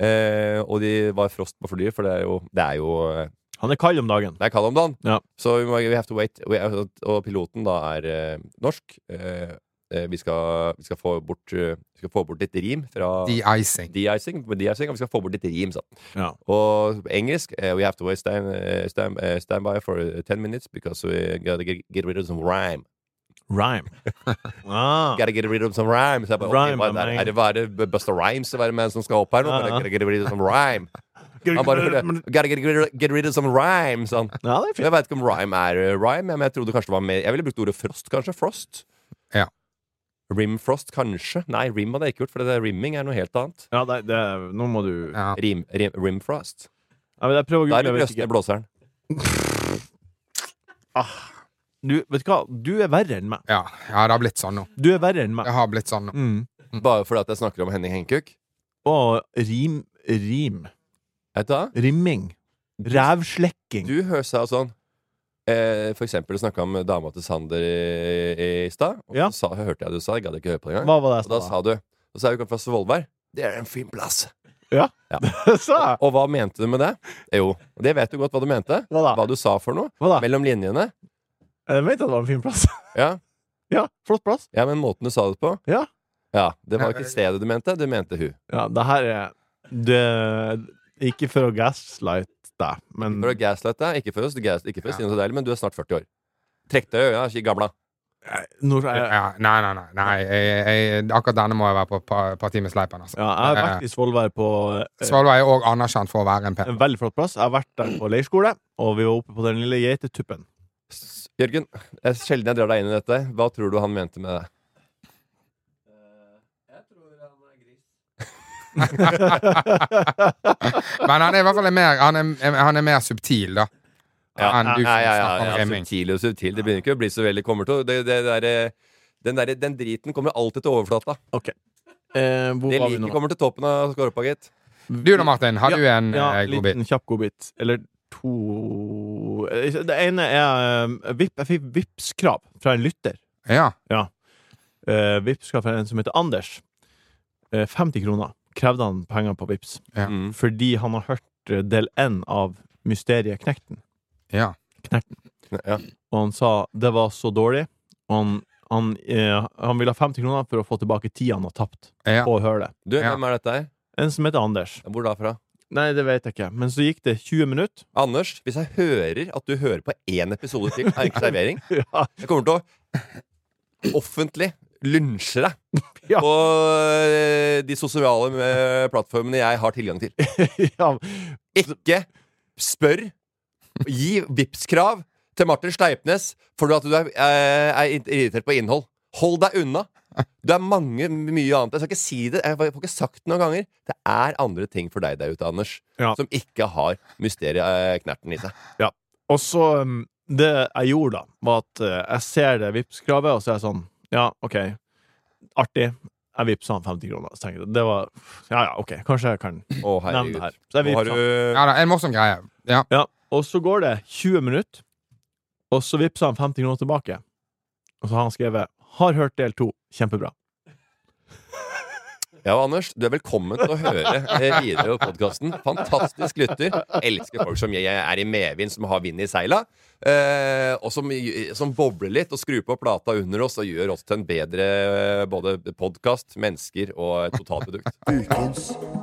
S3: Eh, og de var frost på flyet, for det er jo Det er jo eh,
S2: Han er kald om dagen.
S3: Det er kald om dagen,
S2: Ja.
S3: så vi må, we have to wait. We- altså, Og piloten da er eh, norsk. Eh, eh, vi, skal, vi, skal få bort, eh, vi skal få bort litt rim fra
S4: De-icing.
S3: de-icing. på de-icing, Og vi skal få bort litt rim, sa han.
S2: Ja.
S3: Og på engelsk eh, We have to wait stand, eh, stand, eh, stand by for eh, 10 minutes because we gotta get, get rid of some rhyme.
S2: Rhyme. Ah.
S3: Gotta get rid of some rhyme. Så jeg bare, ok,
S2: Rhyme,
S3: hva
S2: my
S3: er, det-
S2: man.
S3: er det bare Busta Rhymes det være med som skal opp her nå?
S2: Ja,
S3: Bare,
S2: ja.
S3: Gotta get rid of some rhyme. Han bare Gotta get, rid- get rid of some rhyme, sa han.
S2: Ja, det er fint.
S3: Jeg veit ikke om rhyme er eh, rhyme, ja, men jeg trodde kanskje det var mer Jeg ville brukt ordet frost, kanskje. Frost.
S4: Ja.
S3: Rimfrost, kanskje. Nei, rim hadde jeg ikke gjort, for det der rimming er noe helt annet.
S2: Ja, det, det, er- nå må du ja,
S4: Ja.
S3: Rim, rim, rimfrost.
S2: men Jeg prøver å
S3: Da
S2: google,
S3: er det
S2: jeg vet
S3: brøstene
S2: ikke.
S3: i blåseren.
S2: Du, vet du hva? Du er verre enn meg.
S4: Ja. ja, det har blitt sånn nå.
S2: Du er verre enn meg.
S4: Det har blitt sånn nå.
S2: Mm.
S3: Bare fordi at jeg snakker om Henning Henkuk.
S2: Og rim Rim.
S3: Vet du hva?
S2: Rimming. Rævslekking.
S3: Du høres av sånn eh, For eksempel snakka om dama til Sander i, i stad. Og
S2: Ja.
S3: så sa, hørte jeg du sa, jeg gadd ikke høre på det engang.
S2: Hva var det
S3: Og da
S2: jeg sa?
S3: sa du Og så er vi fra Svolvær. Det er en fin plass.
S2: sa jeg.
S3: Og hva mente du med det? Jo, det vet du godt hva du mente.
S2: Hva da?
S3: Hva du sa for noe.
S2: Hva da?
S3: Mellom linjene.
S2: eh, Jeg mente at det var en fin plass.
S3: Ja.
S2: Ja, flott plass.
S3: Ja, men måten du sa det på
S2: Ja.
S3: det var ikke stedet du mente, det mente hun.
S2: Ja, det her er det, Ikke for å gaslighte deg, men
S3: For å gaslighte deg, ikke for oss, gas, ikke for å si noe så deilig, men du er snart 40 år. Trekk deg i øya, ikke gamla.
S2: når jeg,
S4: Ja, nei, nei, nei. nei jeg, jeg, akkurat denne må jeg være på par, par timers leipen. Altså.
S2: ja, jeg har vært i Svolvær på eh,
S4: Svalbard er òg anerkjent for å være en pen
S2: en veldig flott plass. Jeg har vært der på leirskole, og vi var oppe på den lille geitetuppen.
S3: S- Jørgen, det er sjelden jeg drar deg inn i dette. Hva tror du han mente med det?
S4: Men han er i hvert fall mer, han er, han er mer subtil, da. enn du som
S3: ja, ja,
S4: snakker om
S3: ja, ja,
S4: remming.
S3: subtil og subtil. Det begynner ikke å bli så veldig kommer til. Det, det der, eh, den, der, den driten kommer alltid til overflata.
S2: Ok. Eh, hvor
S3: Det
S2: var vi
S3: liket
S2: nå?
S3: kommer til toppen av skorpa, gitt.
S4: Du da, Martin, har
S2: Ja,
S4: du en
S2: ja,
S4: eh, godbit?
S2: liten kjapp godbit. Eller to Eh, Det ene er eh, VIP, Jeg fikk Vipps-krav fra en lytter.
S4: Ja.
S2: Eh, Vipps skal fra en som heter Anders. Eh, 50 kroner krevde han penger på Vipps
S4: Ja.
S3: Mm.
S2: fordi han har hørt eh, del én av Mysteriet Knekten.
S4: ja.
S3: Ja.
S2: Og han sa det var så dårlig. Og han, han, eh, han ville ha 50 kroner for å få tilbake tida han har tapt
S4: ja.
S2: på å høre det.
S3: Du,
S4: Ja.
S3: hvem er dette her?
S2: En som heter Anders.
S3: Hvor da fra?
S2: Nei, det vet jeg ikke. Men så gikk det 20 minutter.
S3: Anders, hvis jeg hører at du hører på én episode til av Ikke servering,
S2: Ja,
S3: jeg kommer til å offentlig lynsje deg
S2: Ja.
S3: på eh, de sosiale eh, plattformene jeg har tilgang til.
S2: ja.
S3: Ikke spør. Gi Vipps-krav til Martin Sleipnes for at du er, eh, er irritert på innhold. Hold deg unna. Du er mange mye annet. Jeg skal ikke si det. Jeg får ikke sagt det noen ganger. Det er andre ting for deg der ute, Anders,
S2: Ja.
S3: som ikke har mysterieknerten i seg.
S2: Og så um, Det jeg gjorde, da, var at eh, jeg ser det Vipps-kravet, og så er jeg sånn Ja, OK. Artig. Jeg vippsa han 50 kroner. Så tenkte jeg, det var Ja, ja, OK. Kanskje jeg kan
S3: Å,
S2: nevne det
S3: herregud.
S2: her. Så jeg
S3: Nå har
S2: vippsa.
S3: du
S4: ja da, en morsom greie. Ja.
S2: Ja, og så går det 20 minutter, og så vippser han 50 kroner tilbake. Og så har han skrevet 'Har hørt del 2. Kjempebra'.
S3: Ja, og Anders, du er velkommen til å høre eh, videre på podkasten. Fantastisk lytter. Elsker folk som jeg jeg er i medvind, som har vind i seila. Eh, og som, som bobler litt og skrur på plata under oss og gjør oss til en bedre eh, både podkast, mennesker og et totalprodukt.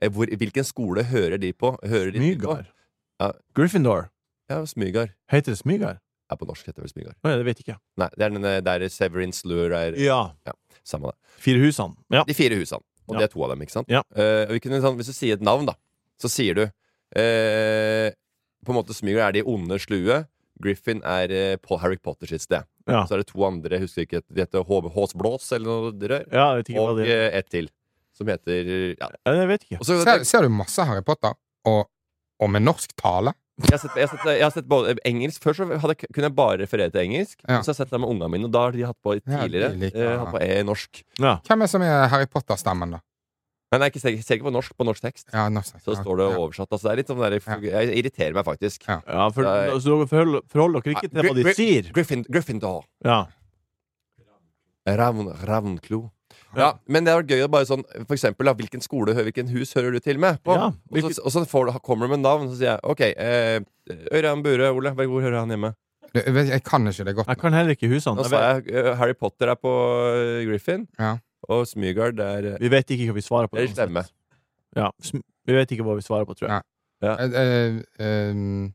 S3: Eh, hvor, hvilken skole hører de på? Hører de til på?
S2: Smygard.
S3: Ja.
S2: Gryffindor.
S3: Ja, Smygard.
S2: Heter det Smygard?
S3: Ja, på norsk heter det vel Smygard.
S2: Å, ja, det vet jeg ikke.
S3: Nei, det er den eh, der Severin Slur er
S2: Ja.
S3: Samme det.
S2: Fire husene. Ja.
S3: De fire husene. Og
S2: Ja.
S3: det er to av dem, ikke sant?
S2: Ja.
S3: Eh, og vi kunne, sånn, hvis du sier et navn, da, så sier du eh, På en måte Smygard er de onde slue. Griffin er eh, på Harry Potter sitt sted.
S2: Ja.
S3: Så er det to andre, jeg husker ikke, de heter HB Hås Blås eller noe rør.
S2: Ja, jeg vet ikke hva
S3: og
S2: det er.
S3: eh, ett til, som heter ja.
S2: Ja, jeg vet ikke.
S3: Og så,
S4: Ser, ser du masse Harry Potter, og, og med norsk tale?
S3: jeg har sett, jeg har sett, jeg har sett både engelsk Før så hadde jeg, kunne jeg bare referere til engelsk.
S4: Ja.
S3: Og så har jeg sett det med ungene mine, og da har de hatt på
S4: Ja, de
S3: tidligere.
S4: liker-
S3: eh, hatt på e norsk.
S2: Ja.
S4: Hvem er som er Harry Potter-stemmen, da?
S3: Nei, nei, ikke, ser, ser ikke på norsk, på norsk tekst.
S4: Ja, norsk
S3: Så står det
S4: ja.
S3: oversatt. Altså, det er litt sånn der, jeg irriterer meg faktisk.
S4: Ja.
S2: Ja, for,
S3: Nei.
S2: så dere forhold- forholder dere ikke til hva de
S3: Gry- Gry-
S2: sier.
S3: Griffin, Gryffindor.
S2: Ja.
S3: Ravn, ravnklo. Ja, men det har vært gøy å bare sånn For eksempel, da, hvilken skole, hø- hvilken hus hører du til med? På?
S2: Ja,
S3: Og så, og så får, kommer du med navn, så sier jeg OK, eh, Øyrein Bure, Ole, hvor hører han hjemme?
S4: Det- jeg vet- Jeg kan ikke det godt.
S2: Jeg kan heller ikke husene.
S3: Da
S2: Jeg
S3: sa
S2: vet,
S3: jeg eh, Harry Potter er på eh, Griffin,
S4: Ja.
S3: og Smygard er eh,
S2: vi vet ikke hva vi svarer på.
S3: Det er slemme.
S2: Ja, sm- vi vet ikke hva vi svarer på, tror jeg.
S4: Nei. Eh, eh, eh,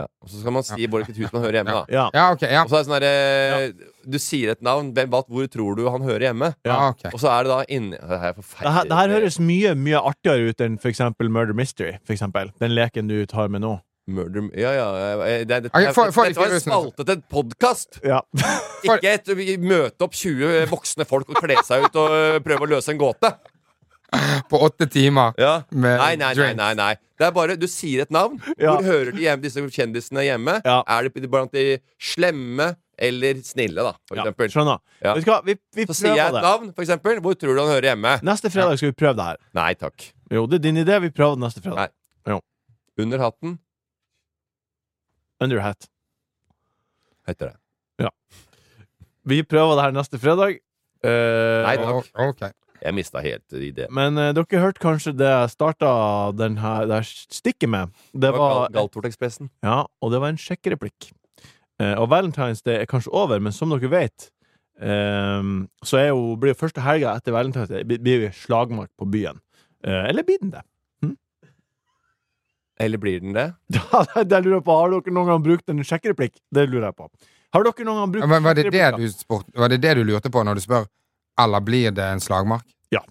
S3: ja. Og så skal man si hvor hvilket hus man hører hjemme, da.
S2: Ja.
S4: ja, ok. Ja.
S3: Og så er det sånn derre Du sier et navn, hvem, hva, hvor tror du han hører hjemme?
S4: Ja, Ah, ok.
S3: Og så er det da inni Det her er
S2: Det her,
S3: forferdelig.
S2: det her høres mye mye artigere ut enn for eksempel Murder Mystery. For eksempel. Den leken du tar med nå.
S3: Murder Ja, ja. eh, Det, det,
S4: Ok, få- få-
S3: dette var en spalte til en podkast!
S2: Ja.
S4: For-
S3: Ikke et, møte opp 20 voksne folk og kle seg ut og øh, prøve å løse en gåte.
S4: På åtte timer.
S3: Ja.
S4: Med
S3: Nei, nei, nei,
S4: drinks.
S3: nei, nei. Det er bare Du sier et navn.
S2: Ja.
S3: Hvor hører de hjemme, disse kjendisene hjemme?
S2: Ja.
S3: Er de blant de slemme eller snille, da, for
S2: Ja,
S3: eksempel?
S2: skjønner.
S3: Ja.
S2: Vet du hva, vi, vi
S3: Så sier
S2: prøver
S3: jeg et
S2: det.
S3: navn, for eksempel. Hvor tror du han hører hjemme?
S2: Neste fredag skal vi prøve det her.
S3: Nei takk.
S2: Jo, det er din idé. Vi prøver det neste fredag.
S3: Nei. Under hatten
S2: Under hat.
S3: heter det.
S2: Vi prøver det her neste fredag. Eh,
S3: Nei,
S4: O-
S3: takk.
S4: Ok.
S3: Jeg mista helt ideen.
S2: men eh, dere hørte kanskje det jeg starta den her, det her stikket med. Det
S3: Det var
S2: var,
S3: Gal- Galtortekspressen.
S2: ja, og det var en sjekkereplikk. Eh, og Valentine's Day er kanskje over, men som dere vet, eh, så er jo, blir jo første helga etter Valentine's Day blir- blir jo slagmark på byen. Eh, eller blir den det?
S3: Eller blir den det?
S2: Ja, det det lurer jeg på. Har dere noen gang brukt en sjekkereplikk? Det lurer jeg på. Har dere noen gang
S4: Ja,
S2: brukt
S4: Men var det det
S2: sjekkereplikker?
S4: du, spurt, var det det du lurte på når du spør Eller blir det en slagmark?
S2: Ja.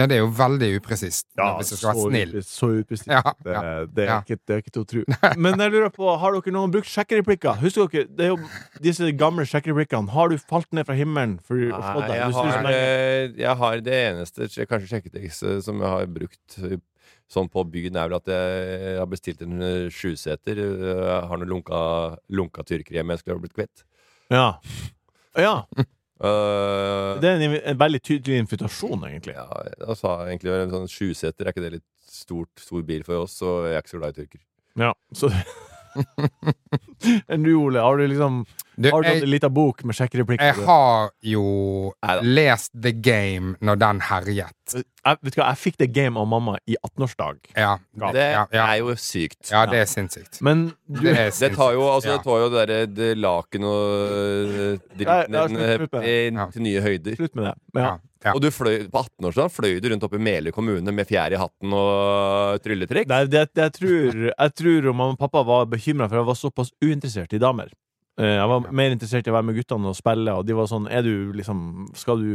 S4: Ja, det er jo veldig upresist.
S2: Ja,
S4: hvis du skal være
S2: så
S4: snill.
S2: upre- Så upresist.
S4: Ja,
S2: Det,
S4: ja.
S2: det, er
S4: ja.
S2: ikke, det er ikke til å tro. Men jeg lurer på, har dere noen brukt sjekkereplikker? Husker dere, det er jo disse gamle sjekkereplikkene. Har du falt ned fra himmelen for å få
S3: Nei,
S2: deg?
S3: jeg
S2: Du snur så
S3: har,
S2: lenge.
S3: eh, jeg har det eneste sj- kanskje sjekketrikset som jeg har brukt eh, sånn på byen, er vel at jeg har bestilt en eh, sjuseter. eh, Jeg har noen lunka, lunka tyrkere hjemme jeg skulle ha blitt kvitt.
S2: Ja. ja.
S3: Eh,
S2: Det er en, invi- en veldig tydelig invitasjon, egentlig.
S3: ja, jeg sa egentlig en sånn sjuseter, er ikke det litt stort, stor bil for oss, og jeg er ikke så glad i tyrker.
S2: Ja. Så Enn du, Ole? Har du liksom
S4: Du,
S2: Har du
S4: jeg-
S2: hatt en liten bok med
S4: Jeg
S2: sjekkereplikker?
S4: har jo
S3: Neida.
S4: lest The Game når den herjet.
S2: Jeg, vet du hva, jeg fikk det game av mamma i 18-årsdag.
S4: Ja,
S2: Ja,
S3: Det
S4: ja, ja.
S3: er jo sykt.
S4: ja det er sinnssykt.
S2: Men du
S4: Det er
S3: Det tar jo, altså,
S4: Ja.
S3: det tar jo det derre det laken og eh,
S2: Nei, nei,
S3: dritten
S2: slutt, slutt med
S3: eh, eh, til nye høyder.
S2: Slutt med det. Men ja.
S4: Ja, ja.
S3: Og du fløy, på 18-årsdagen fløy du rundt oppe i Meløy kommune med fjær i hatten og trylletriks?
S2: Nei, det, det, jeg, tror, jeg tror om mamma og pappa var bekymra, for jeg var såpass uinteressert i damer. Eh, Jeg var mer interessert i å være med guttene og spille, og de var sånn Er du liksom Skal du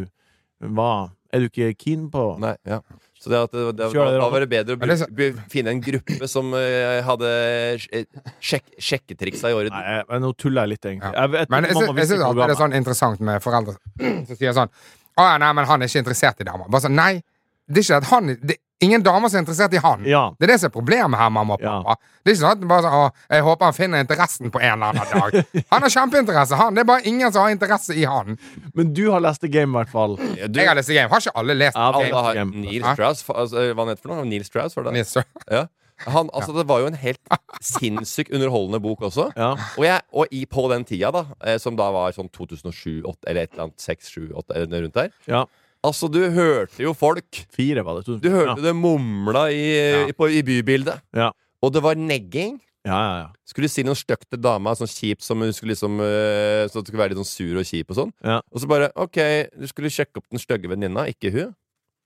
S2: Hva Er du ikke keen på
S3: Nei, ja. Så det at det, det,
S2: Kjør det,
S3: da
S2: da.
S3: var det bedre å
S4: Ja, det er
S3: bruke, be- finne en gruppe som eh, hadde eh, sjek, sjekketriksa i orden.
S2: Nei, jeg- men nå tuller jeg litt, egentlig. Jeg vet,
S4: Men jeg, sy-
S2: mamma
S4: jeg
S2: visste
S4: syns
S2: ikke
S4: alltid
S2: hvor
S4: det er
S2: gammel.
S4: sånn interessant med foreldre som sier sånn Å ja, nei, men han er ikke interessert i damer. Bare sånn, nei, det er ikke at han det, er Ingen damer som er interessert i han.
S2: Ja.
S4: Det er det som er problemet her, mamma og
S2: Ja.
S4: pappa. Det er ikke sånn at du bare sånn, å, jeg håper han finner interessen på en eller annen dag. Han har kjempeinteresse, han. Det er bare ingen som har interesse i han.
S2: Men du har lest The Game, i hvert fall.
S3: Ja, du,
S4: sånn- Jeg har lest The Game. Har ikke alle lest
S2: Ja,
S4: The
S3: alle
S4: Game?
S3: har
S2: Game.
S3: Neil
S4: Hæ?
S3: Strauss fa- altså, Hva han heter for noe? Neil Strauss, var det det?
S4: Nils, så-
S3: Ja. Han, altså, det var jo en helt sinnssykt underholdende bok også.
S2: Ja.
S3: Og, jeg, og i, på den tida, da, eh, som da var sånn 2007-2008, eller et eller annet 6-7-8, eller rundt der
S2: ja.
S3: Altså, du hørte jo folk
S2: Fire, var det.
S3: Du hørte det mumla i, i, på, i bybildet.
S2: Ja.
S3: Og det var negging.
S2: Ja, ja, ja.
S3: Skulle si noe stygt til dama, sånn kjipt som hun skulle liksom øh, Så at hun skulle være litt sånn sur og kjip og sånn.
S2: Ja.
S3: Og så bare OK, du skulle sjekke opp den stygge venninna, ikke hun.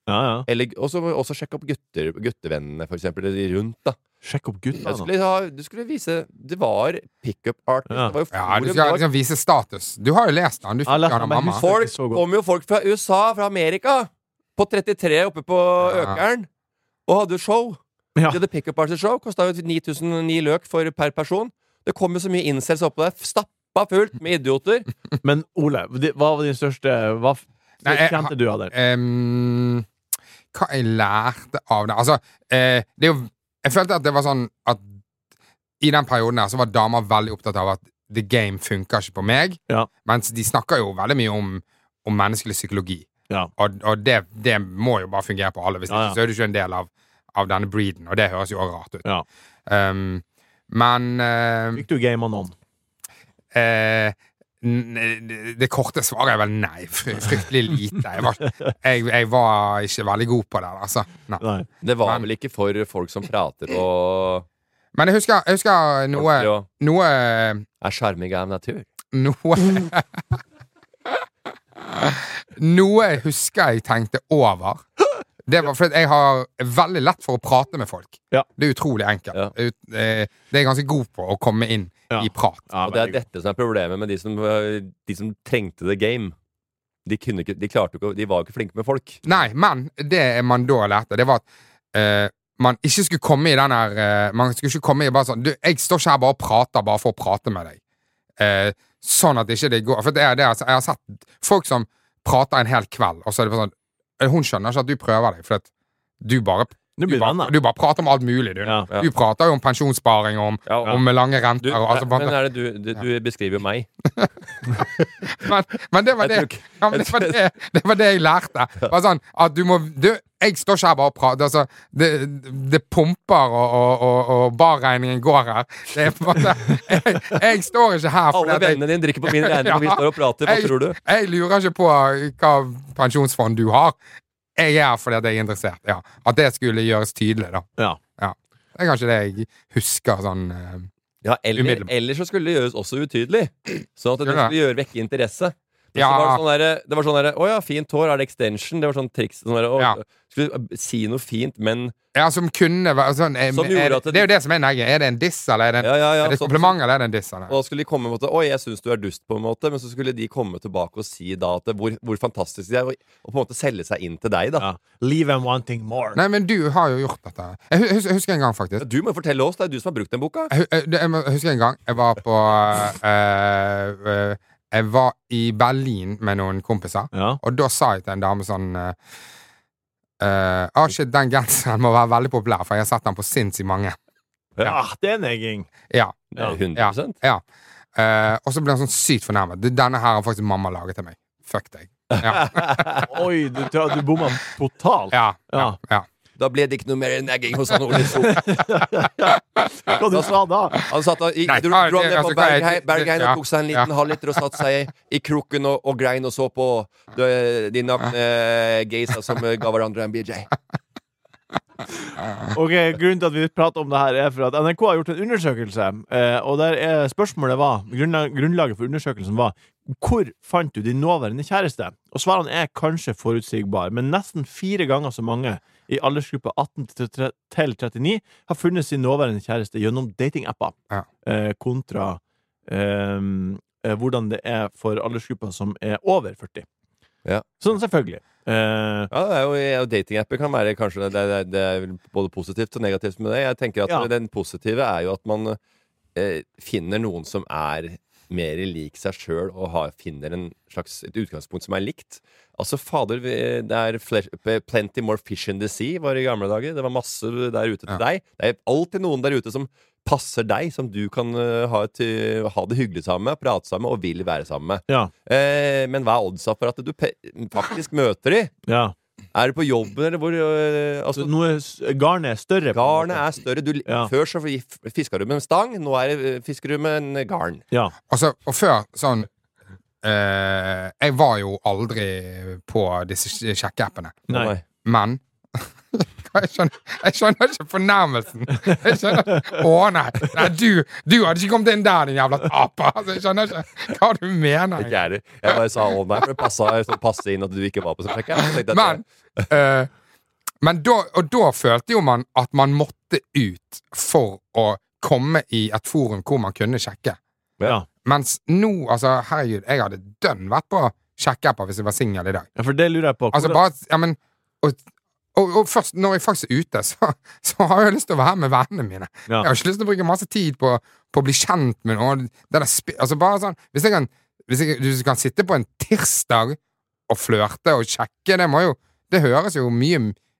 S2: ja, ja.
S3: Eller også, også sjekke opp gutter, guttevennene, for eksempel, eller de rundt, da.
S2: Sjekk opp gutta,
S3: Jeg
S2: nå.
S3: skulle, ha, du skulle vise Det var pickup artist.
S2: Ja.
S3: Det var jo
S4: Ja,
S3: forum.
S4: du
S3: det
S4: skal
S3: var-
S4: liksom vise status. Du har jo lest den. Du
S2: Jeg har
S4: fikk
S2: lest
S4: den
S2: den,
S4: av
S2: men
S4: mamma.
S2: husker-
S3: Folk
S2: Så godt.
S3: kom jo folk fra USA, fra Amerika, på 33 oppe på
S4: Ja.
S3: Økeren, og hadde jo show.
S2: Ja.
S3: De hadde pickup artist show. Kosta jo 9009 løk for per person. Det kom jo så mye incels oppå der. Stappa fullt med idioter.
S2: Men Ole, di- hva var din største Hva f-
S4: Nei, jeg-
S2: kjente du av det?
S4: Ehm, hva jeg lærte av det Altså, eh, det er jo Jeg følte at det var sånn at i den perioden der så var damer veldig opptatt av at the game funker ikke på meg,
S2: Ja.
S4: mens de snakker jo veldig mye om, om menneskelig psykologi.
S2: Ja.
S4: Og, og det, det må jo bare fungere på alle, hvis
S2: Ja, ja.
S4: ikke så er du ikke en del av, av denne breeden, og det høres jo også rart ut.
S2: Ja.
S4: Ehm, men eh,
S2: Fikk du gama noen?
S4: Eh, n- n- det korte svaret er vel nei. Fry- Fryktelig lite. Jeg var, jeg, jeg var ikke veldig god på det. Altså. Nei.
S2: Nei.
S3: Det var
S4: Men-
S3: vel ikke for folk som prater og
S4: Men jeg husker, jeg husker noe
S3: Ordentlig og-
S4: Noe
S3: er sjarmige av natur.
S4: Noe Noe jeg husker jeg tenkte over. Det var fordi jeg har veldig lett for å prate med folk.
S2: Ja.
S4: Det er utrolig enkelt.
S3: Ja.
S4: Ut- eh, Det er jeg ganske god på å komme inn
S2: Ja.
S4: i prat.
S2: Ja,
S3: og det er
S2: veldig god.
S3: dette som er problemet med de som, øh, de som trengte the game. De, kunne ikke, de, klarte jo ikke, å- de var jo ikke flinke med folk.
S4: Nei, men det man da lærte, det var at eh, man ikke skulle komme i den her eh, Man skulle ikke komme i bare sånn du, 'Jeg står ikke her bare og prater bare for å prate med deg'. Eh, sånn at ikke det går For det er det, altså, jeg har sett folk som prater en hel kveld, og så er det bare sånn eh, Hun skjønner ikke at du prøver deg, for at du bare
S2: Du blir venner.
S4: du bare prater om alt mulig, du.
S2: Ja.
S4: Du prater jo om pensjonssparing og om,
S3: Ja, og-
S4: om lange renter.
S3: Du,
S4: og, altså, bare-
S3: men er det du, du, du beskriver jo meg.
S4: men, men det
S3: Jeg
S4: var det
S3: tror
S4: ja,
S3: ikke-
S4: men det var det- det var det jeg lærte. Bare sånn at du må du, Jeg står ikke her bare og prater. Altså, det, det pumper, og, og, og, og barregningen går her. Det er på en måte Jeg, jeg står ikke her fordi
S3: Alle
S4: at jeg-
S3: vennene dine drikker på min regning, og vi
S4: Ja.
S3: står og prater. Hva
S4: jeg,
S3: tror du?
S4: Jeg lurer ikke på hva pensjonsfond du har. Jeg er her fordi at jeg er interessert. Ja. At det skulle gjøres tydelig, da.
S2: Ja.
S4: Ja. Det er kanskje det jeg husker sånn eh,
S3: Ja, eller,
S4: Umiddelbart.
S3: eller så skulle det gjøres også utydelig. Sånn at det
S4: Gjør det.
S3: skulle gjøre vekke interesse. Men
S4: Ja.
S3: så var det sånn derre det var sånn derre, Å ja, fint hår. Er det extension? Det var sånn triks. Sånn derre, å,
S4: Ja.
S3: Skulle si noe fint, men
S4: Ja, som kunne vært sånn eh,
S3: Som
S4: er,
S3: gjorde at
S4: det,
S3: det-
S4: det er jo det som er negget. Er det en diss, eller er det, en,
S3: Ja, ja, ja,
S4: er det et
S3: sånn-
S4: kompliment, eller er det en diss? Eller?
S3: Og da skulle de komme på en måte, Oi, jeg syns du er dust, på en måte. Men så skulle de komme tilbake og si da at det, hvor, hvor fantastisk de er, og, og på en måte selge seg inn til deg, da.
S2: Ja. Leave them wanting more.
S4: Nei, men du har jo gjort dette. Jeg hu- hus- husker en gang, faktisk.
S3: Du må jo fortelle oss, det er du som har brukt den boka.
S4: Jeg, hu- eh, det- jeg må- husker en gang jeg var på eh, eh, Jeg var i Berlin med noen kompiser,
S2: Ja.
S4: og da sa jeg til en dame sånn eh, eh, Ah, shit, den genseren må være veldig populær, for jeg har sett den på sinnssykt mange.
S2: Ah, det er negging.
S4: Ja,
S2: Ja.
S3: 100
S4: ja, ja. Eh, Og så ble han sånn sykt fornærmet. Du, Denne her har faktisk mamma laget til meg. Fuck deg. Ja,
S2: Oi, du, du bomma totalt.
S4: ja, ja,
S2: Ja.
S4: ja.
S3: Da ble det ikke noe mer nagging hos han Ole So.
S2: Hva du sa da?
S3: Han satt og gikk-
S4: Nei,
S3: dro,
S4: ja,
S3: dro
S4: det-
S3: ned på
S4: altså, hva er
S3: Bergheim,
S4: det-
S3: Bergheim
S4: ja,
S3: og tok seg en
S4: ja.
S3: liten halvliter og satte seg i kroken og, og grein og så på de, de nakne geysa som eh, ga hverandre en BJ.
S2: Ok, Grunnen til at vi prater om det her, er for at NRK har gjort en undersøkelse. Eh, og der er spørsmålet var grunnla- Grunnlaget for undersøkelsen var hvor fant du din nåværende kjæreste? Og svarene er kanskje forutsigbare, men nesten fire ganger så mange i aldersgruppa 18 til tre- til 39 har funnet sin nåværende kjæreste gjennom datingapper,
S4: Ja.
S2: eh, kontra eh, eh, hvordan det er for aldersgruppa som er over 40.
S3: Ja.
S2: Sånn selvfølgelig. Eh,
S3: Ja, det er jo, ja, Datingapper kan være kanskje det, det, det er vel både positivt og negativt med det. Jeg tenker at
S2: Ja.
S3: Den positive er jo at man eh, finner noen som er mer lik seg sjøl, og har, finner en slags, et utgangspunkt som er likt. Altså, fader, vi- det er fle- plenty more fish in the sea, var det i gamle dager. Det var masse der ute til
S4: Ja.
S3: deg. Det er alltid noen der ute som passer deg, som du kan eh, ha, et, ha det hyggelig sammen med, prate sammen med og vil være sammen med.
S2: ja.
S3: Eh, men hva er oddsa for at du pe faktisk møter de?
S2: ja.
S3: Er du på jobben, eller hvor øh, altså,
S2: Så nå er s- garnet er større. på en måte.
S3: Garnet er større. Du,
S2: Ja.
S3: Før så f- fiska du med en stang, nå er det, øh, fisker du med en garn.
S2: Ja.
S4: Og, så, og før sånn eh, Jeg var jo aldri på disse sj- sjekkeappene.
S2: Nei.
S4: Men jeg skjønner, jeg skjønner ikke fornærmelsen. Jeg skjønner, å nei, nei du, du hadde ikke kommet inn der, din jævla taper! Altså, jeg skjønner ikke hva du mener.
S3: Ikke jeg heller. Jeg bare sa å nei, for det passa sånn passe inn at du ikke var på sånn sjekke. Så tenkte jeg at-
S4: Men, eh, men da, og da følte jo man at man måtte ut for å komme i et forum hvor man kunne sjekke.
S2: Ja.
S4: Mens nå, altså, herregud, jeg hadde dønn vært på sjekkeapper hvis jeg var singel i dag.
S2: ja, for det lurer jeg på.
S4: Altså
S2: Hvordan-
S4: bare, ja, men, og, Og, og først, når jeg faktisk er ute, så, så har jeg lyst til å være med vennene mine.
S2: Ja.
S4: Jeg har ikke lyst til å bruke masse tid på, på å bli kjent med noen. Det der sp- altså bare sånn, hvis jeg kan, hvis jeg, du kan sitte på en tirsdag og flørte og sjekke, det må jo Det høres jo mye,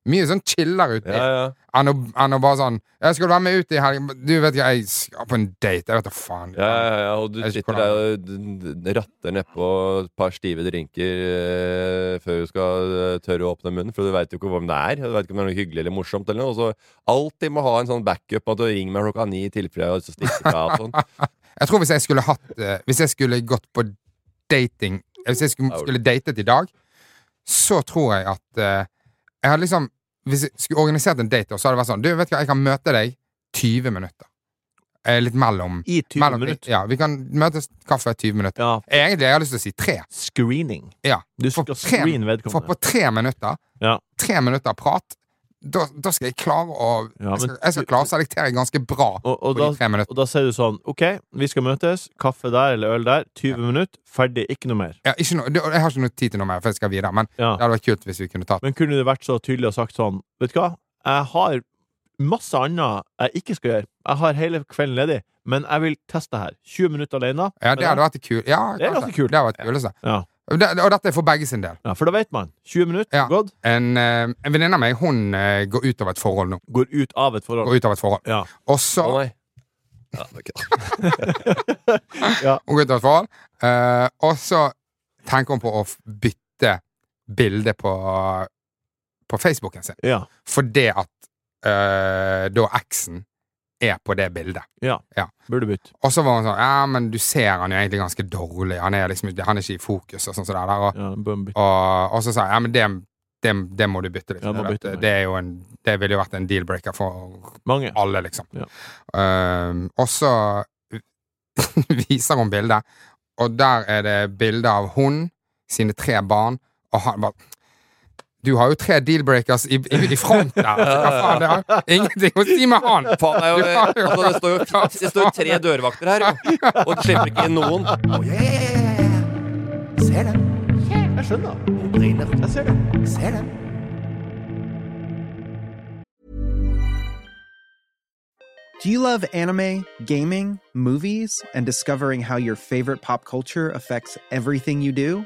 S4: mye sånn chiller ut
S3: Ja, ja.
S4: enn å, enn å bare sånn jeg 'Skal du være med ut i helgen?' Du vet ikke, jeg skal på en date. Jeg vet da faen.
S3: Ja, ja, ja, og du
S4: Jeg vet
S3: sitter
S4: ikke
S3: der og d- d- ratter nedpå et par stive drinker eh, før du skal eh, tørre å åpne munnen, for du veit jo ikke hvem det er. og Du vet ikke om det er noe hyggelig eller morsomt eller noe. Og så alltid må ha en sånn backup at du ringer meg klokka ni i tilfelle jeg har lyst til å stikke fra. og sånn.
S4: Jeg tror hvis jeg skulle hatt eh, Hvis jeg skulle gått på dating Hvis jeg skulle, skulle datet i dag, så tror jeg at eh, Jeg hadde liksom Hvis jeg skulle organisert en date, så hadde det vært sånn Du, vet du hva, jeg kan møte deg 20 minutter. Eh, litt mellom.
S2: I 20
S4: mellom-
S2: minutter.
S4: Ja, vi kan møtes kaffe 20 minutter.
S2: Ja.
S4: Egentlig jeg har lyst til å si tre.
S2: Screening.
S4: Ja.
S2: Du
S4: For
S2: skal
S4: tre-
S2: screene
S4: For
S2: vedkommende.
S4: på tre minutter
S2: Ja.
S4: Tre minutter prat da, da skal jeg klare å
S2: Ja,
S4: jeg, skal,
S2: men-
S4: jeg skal klare å selektere ganske bra
S2: Og, og,
S4: på de
S2: da,
S4: tre minuttene.
S2: og da sier du sånn OK, vi skal møtes. Kaffe der eller øl der. 20 minutter. Ferdig. Ikke noe mer.
S4: Ja, ikke noe, det- jeg har ikke noe tid til noe mer, for jeg skal videre. Men
S2: Ja.
S4: det hadde vært kult hvis vi kunne tatt
S2: Men kunne det vært så tydelig og sagt sånn Vet du hva, jeg har masse annet jeg ikke skal gjøre. Jeg har hele kvelden ledig, men jeg vil teste her. 20 minutter alene.
S4: Ja, det hadde vært kult. Ja,
S2: Det er
S4: kanskje.
S2: ganske kult.
S4: Det hadde vært kuleste.
S2: Ja.
S4: Og det- Og dette er for begge sin del.
S2: Ja, for da vet man. 20 minutter
S4: Ja.
S2: gått,
S4: En, eh, en venninne av meg hun eh, går ut av et forhold nå.
S2: går ut av et forhold.
S4: Går ut av et forhold.
S2: Ja.
S3: Å
S4: Og så
S3: nei. Ja, det er ikke-
S4: Hun går ut av et forhold, eh, og så tenker hun på å f- bytte bilde på, på Facebooken sin.
S2: Ja.
S4: Fordi at eh, da eksen er på det bildet.
S2: Burde bytte.
S4: Og så var hun sånn Ja, men du ser han jo egentlig ganske dårlig. Han er liksom ikke- han er ikke i fokus, og sånn som det der. Og,
S2: Ja, bør bytte.
S4: Og, og så sa jeg ja, men det, det, det må du bytte litt.
S2: Ja, må
S4: for
S2: bytte,
S4: at
S2: ja.
S4: det, er jo en, det ville jo vært en deal-breaker for
S2: Mange.
S4: alle, liksom.
S2: Ja.
S4: Ehm, og så viser hun bildet, og der er det bilde av hun, sine tre barn, og han bare Du har jo tre deal-breakers i, i, i front der! Hva faen, det har jo ingenting å si med han!
S3: Faen, det, er
S4: Du har
S3: jo,
S4: jo-
S3: altså, det, står jo, det står jo tre dørvakter her, jo. og det slipper ikke inn noen.
S9: Oh, yeah, yeah, yeah, yeah, yeah. Ser dem.
S2: Jeg skjønner.
S9: Hun brenner.
S2: Jeg ser det.
S9: Ser dem.
S5: Do you love anime, gaming, movies, and discovering how your favorite pop culture affects everything you do?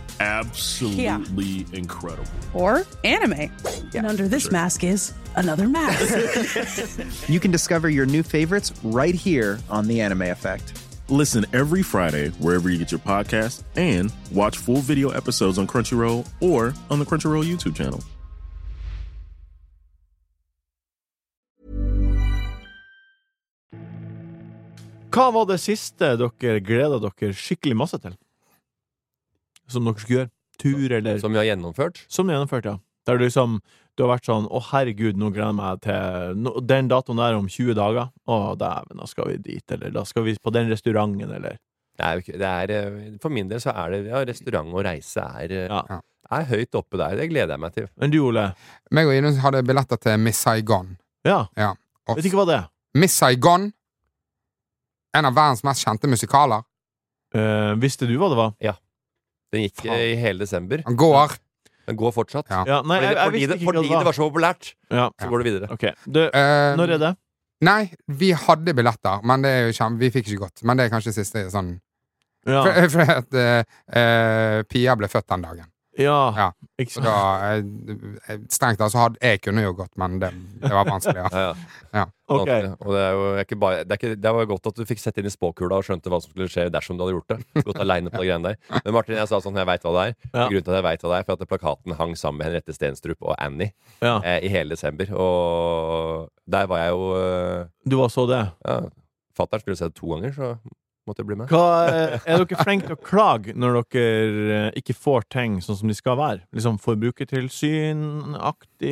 S8: absolutely incredible.
S6: Or anime.
S1: And under this mask is another mask.
S5: you can discover your new favorites right here on The Anime Effect.
S8: Listen every Friday wherever you get your podcast and watch full video episodes on Crunchyroll or on the Crunchyroll YouTube channel.
S2: Hva var det siste dere gleda dere skikkelig masse til? Som dere skulle gjøre? Tur, eller
S3: Som vi har gjennomført.
S2: Som du gjennomførte, ja. Der du liksom Du har vært sånn 'Å, herregud, nå gleder jeg meg til nå, den datoen der om 20 dager'. 'Å, dæven, da skal vi dit', eller 'da skal vi på den restauranten', eller
S3: Det er, jo ikke- det er, eh, for min del så er det ja, restaurant og reise er, eh,
S2: Ja.
S3: er høyt oppe der. Det gleder jeg meg til.
S2: Men du, Ole?
S4: Meg og Ine hadde billetter til Miss Saigon.
S2: Ja.
S4: Ja. Og-
S2: Vet ikke hva det er.
S4: Miss Saigon, en av verdens mest kjente musikaler,
S2: Eh, visste du hva det var?
S3: Den gikk eh, i hele desember.
S4: han går
S3: Den går fortsatt.
S4: Ja.
S2: Ja, nei,
S3: Fordi
S2: jeg,
S3: det,
S2: jeg
S3: fordi
S2: visste
S3: det,
S2: ikke hva
S3: fordi det var
S2: det var.
S3: så populært,
S2: Ja,
S3: så går det videre.
S2: ok. Du,
S4: Eh,
S2: når er det?
S4: Nei, vi hadde billetter, men det er jo kjem... vi fikk ikke gått. Men det er kanskje siste sånn
S2: Ja.
S4: Fordi for at eh, eh, Pia ble født den dagen.
S3: Ah.
S2: ja.
S4: Ja.
S2: Ikke sant?
S4: Så da, eh, eh, strengt tatt så hadde jeg kunne jo gått, men det, det var vanskelig. Ja.
S3: Ja, ja.
S2: Ok.
S3: Vanskelig. Og det er jo ikke bare det, er ikke, det var jo godt at du fikk sette inn i spåkula og skjønte hva som skulle skje dersom du hadde gjort det. Gått alene på det greiene der. Men Martin, jeg sa sånn, jeg veit hva det er.
S2: Ja.
S3: Grunnen til at jeg vet hva det er, for at plakaten hang sammen med Henriette Stenstrup og Annie
S2: Ja.
S3: eh, i hele desember. Og der var jeg jo eh,
S2: Du var så det?
S3: ja, Fatter'n skulle se det to ganger, så måtte jeg bli med.
S2: Hva, eh, er dere flinke til å klage når dere eh, ikke får ting sånn som de skal være? Liksom forbrukertilsynaktig?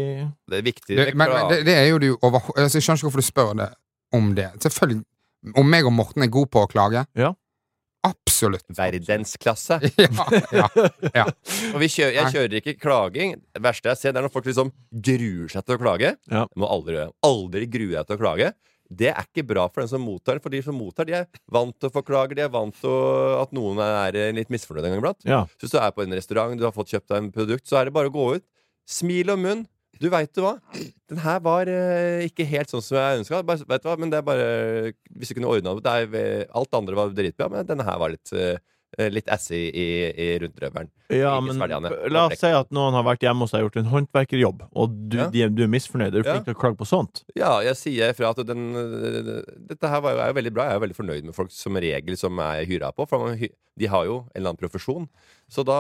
S3: Det er viktig.
S4: Det, men, men det, det er jo du overho- altså, Jeg skjønner ikke hvorfor du spør det om det. Selvfølgelig. Om meg og Morten er gode på å klage?
S2: Ja.
S4: Absolutt.
S3: Verdensklasse.
S4: Ja, ja, ja.
S3: Og vi kjører, jeg kjører ikke klaging. Det verste jeg ser, det er når folk liksom gruer seg til å klage.
S2: Ja.
S3: Jeg må aldri, aldri grue deg til å klage. Det er ikke bra for den som mottar. For de som mottar, de er vant til å få klager. De er vant til å- at noen er eh, litt misfornøyd en gang iblant.
S2: Ja.
S3: Så hvis du er på en restaurant, du har fått kjøpt deg en produkt, så er det bare å gå ut. Smil og munn. Du veit du hva, den her var eh, ikke helt sånn som jeg ønska. Vet du hva, men det er bare Hvis du kunne ordna det det er- Alt det andre var dritbra, men denne her var litt eh, Litt assy i, i rundrøveren.
S2: Ja,
S3: Ikke
S2: men
S3: svelgende.
S2: la oss si at noen har vært hjemme hos deg og gjort en håndverkerjobb, og du,
S3: Ja.
S2: de, du er misfornøyd. Er du
S3: Ja.
S2: flink til å klage på sånt?
S3: Ja, jeg sier fra at den, dette her var jo- er jo veldig bra. Jeg er jo veldig fornøyd med folk som regel som er hyra på. For man, hy- de har jo en eller annen profesjon. Så da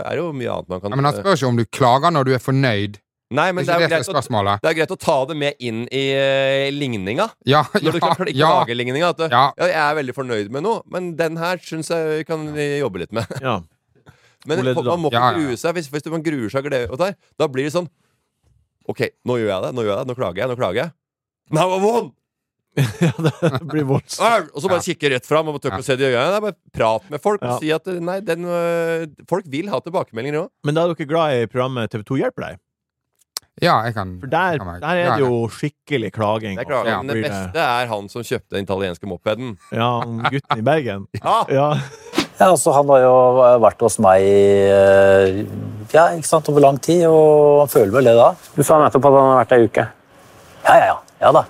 S3: er det jo mye annet man kan
S4: Ja, men han spør ikke om du klager når du er fornøyd.
S3: Nei, men
S4: Det
S3: det
S4: er
S3: er,
S4: ikke
S3: jo
S4: det
S3: greit
S4: som er
S3: å,
S4: spørsmålet.
S3: det er greit å ta det med inn i eh, ligninga.
S4: Ja,
S3: Når du
S4: ja,
S3: kan
S4: ja,
S3: klage ligninga. At du,
S4: ja.
S3: ja, jeg er veldig fornøyd med noe, men den her syns jeg vi kan eh, jobbe litt med.
S2: Ja.
S3: Men
S2: Hvor leder du da?
S3: man må ikke
S4: Ja, ja, ja.
S3: grue seg. Hvis, hvis man gruer seg og gleder- og der, da blir det sånn OK, nå gjør jeg det. Nå gjør jeg det. Nå klager jeg. Nå klager jeg. Now I won!
S2: ja, det blir voldsomt.
S3: Arr! Og så bare kikke rett fram og tør ikke å se det i øynene. Det er bare prat med folk og
S2: Ja.
S3: si at eh, nei, den, øh, folk vil ha tilbakemeldinger òg.
S2: Men da er dere glad i programmet TV2 hjelper deg?
S4: ja, jeg kan
S2: For der,
S4: kan være-
S2: der er
S4: ja,
S2: det jo skikkelig klaging. altså.
S3: Det er klart,
S4: Ja.
S3: men det
S2: Blir det-
S3: beste er han som kjøpte den italienske mopeden.
S2: Ja, han gutten i Bergen.
S3: Ja,
S2: Ja.
S11: Ja, altså Han har jo vært hos meg eh, ja, ikke sant, over lang tid, og han føler vel det da. Du sa nettopp at han har vært der ei uke. Ja, ja, ja. Ja da.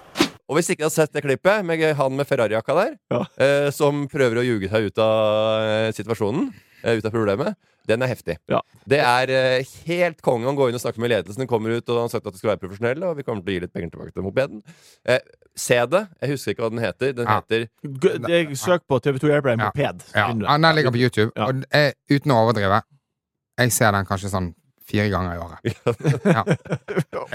S3: Og hvis ikke du har sett det klippet med han med Ferrari-jakka der,
S2: Ja.
S3: eh, som prøver å ljuge seg ut av eh, situasjonen, eh, ut av problemet, den er heftig.
S2: Ja.
S3: Det er eh, helt konge. Han går inn og snakker med ledelsen, kommer ut, og han har sagt at det skal være profesjonell, og vi kommer til å gi litt penger tilbake til mopeden. Eh, se det. Jeg husker ikke hva den heter. Den
S4: Ja.
S3: heter
S2: G- det- Søk på TV2 hjelper deg
S4: Ja.
S2: moped. så
S4: Ja,
S2: finner du
S4: ja,
S2: det.
S4: den ligger på YouTube.
S2: Ja.
S4: Og eh, uten å overdrive, jeg ser den kanskje sånn fire ganger i året. Ja.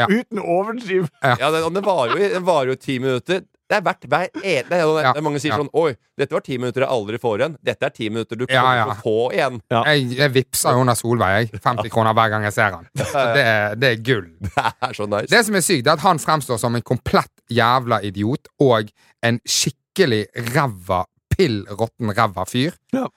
S2: Uten å overdrive.
S3: Ja, den, og den varer jo, den varer jo ti minutter. Det er verdt hver ene det er, det
S4: Ja,
S3: er Mange sier
S4: ja.
S3: sånn Oi, dette var ti minutter jeg aldri får igjen. Dette er ti minutter du
S4: Ja,
S3: kommer
S4: ja.
S3: til å få igjen.
S2: Ja.
S4: Jeg, jeg vipser under Solveig, jeg. 50 kroner hver gang jeg ser han. Så det er, det er gull.
S3: Det er så nice.
S4: Det som er sykt, er at han fremstår som en komplett jævla idiot og en skikkelig ræva, pill råtten ræva fyr.
S2: Ja.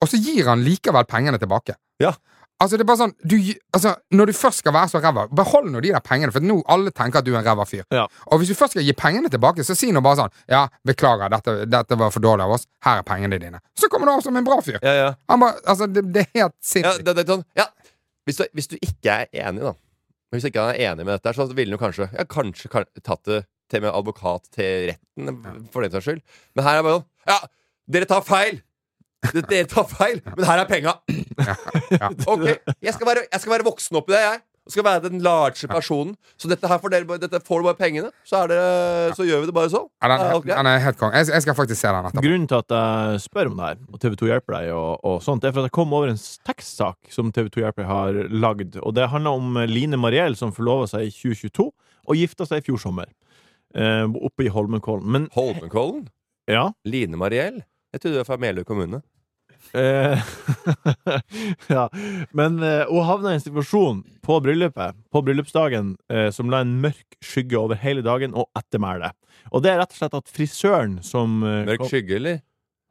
S4: Og så gir han likevel pengene tilbake.
S3: Ja.
S4: Altså, det er bare sånn, du, altså, Når du først skal være så ræva, behold nå de der pengene, for nå alle tenker at du er en ræva fyr.
S2: Ja.
S4: Og hvis du først skal gi pengene tilbake, så si nå bare sånn Ja, beklager, dette, dette var for dårlig av oss. Her er pengene dine. Så kommer du over som en bra fyr.
S3: Ja, ja.
S4: Han bare, altså, det, det er helt
S3: ja,
S4: sinnssykt.
S3: det, det, er sånn, ja. Hvis, du, hvis du ikke er enig, da Hvis ikke han er enig med dette, her, så ville han jo kanskje ja, Kanskje kan, tatt det til med advokat til retten, for den saks skyld. Men her er det bare sånn Ja, dere tar feil! Dere- Dere tar feil, men her er penga!
S4: Ja.
S3: Ok, jeg skal være, jeg skal være voksen oppi det, jeg. Og skal være den large personen. Så dette her får dere bare- dette får du bare pengene. Så, er det, så gjør vi det bare sånn.
S4: Ja, den,
S3: Er
S4: er-
S3: alt greit?
S4: den er helt konge. Jeg, jeg skal faktisk se den etterpå.
S2: Grunnen til at jeg spør om det her, og TV2 hjelper deg, og, og sånt, det er for at jeg kom over en tekstsak som TV2 hjelper deg har lagd. Og det handler om Line Mariell som forlova seg i 2022 og gifta seg i fjor sommer. Eh, oppe i Holmenkollen. Men
S3: Holmenkollen?
S2: ja
S3: Line Mariell? Jeg trodde det var fra Meløy kommune.
S2: eh, Ja. Men eh, hun havna i en situasjon på bryllupet, på bryllupsdagen, eh, som la en mørk skygge over hele dagen og ettermælet. Og det er rett og slett at frisøren som eh,
S3: Mørk
S2: kom-
S3: skygge, eller?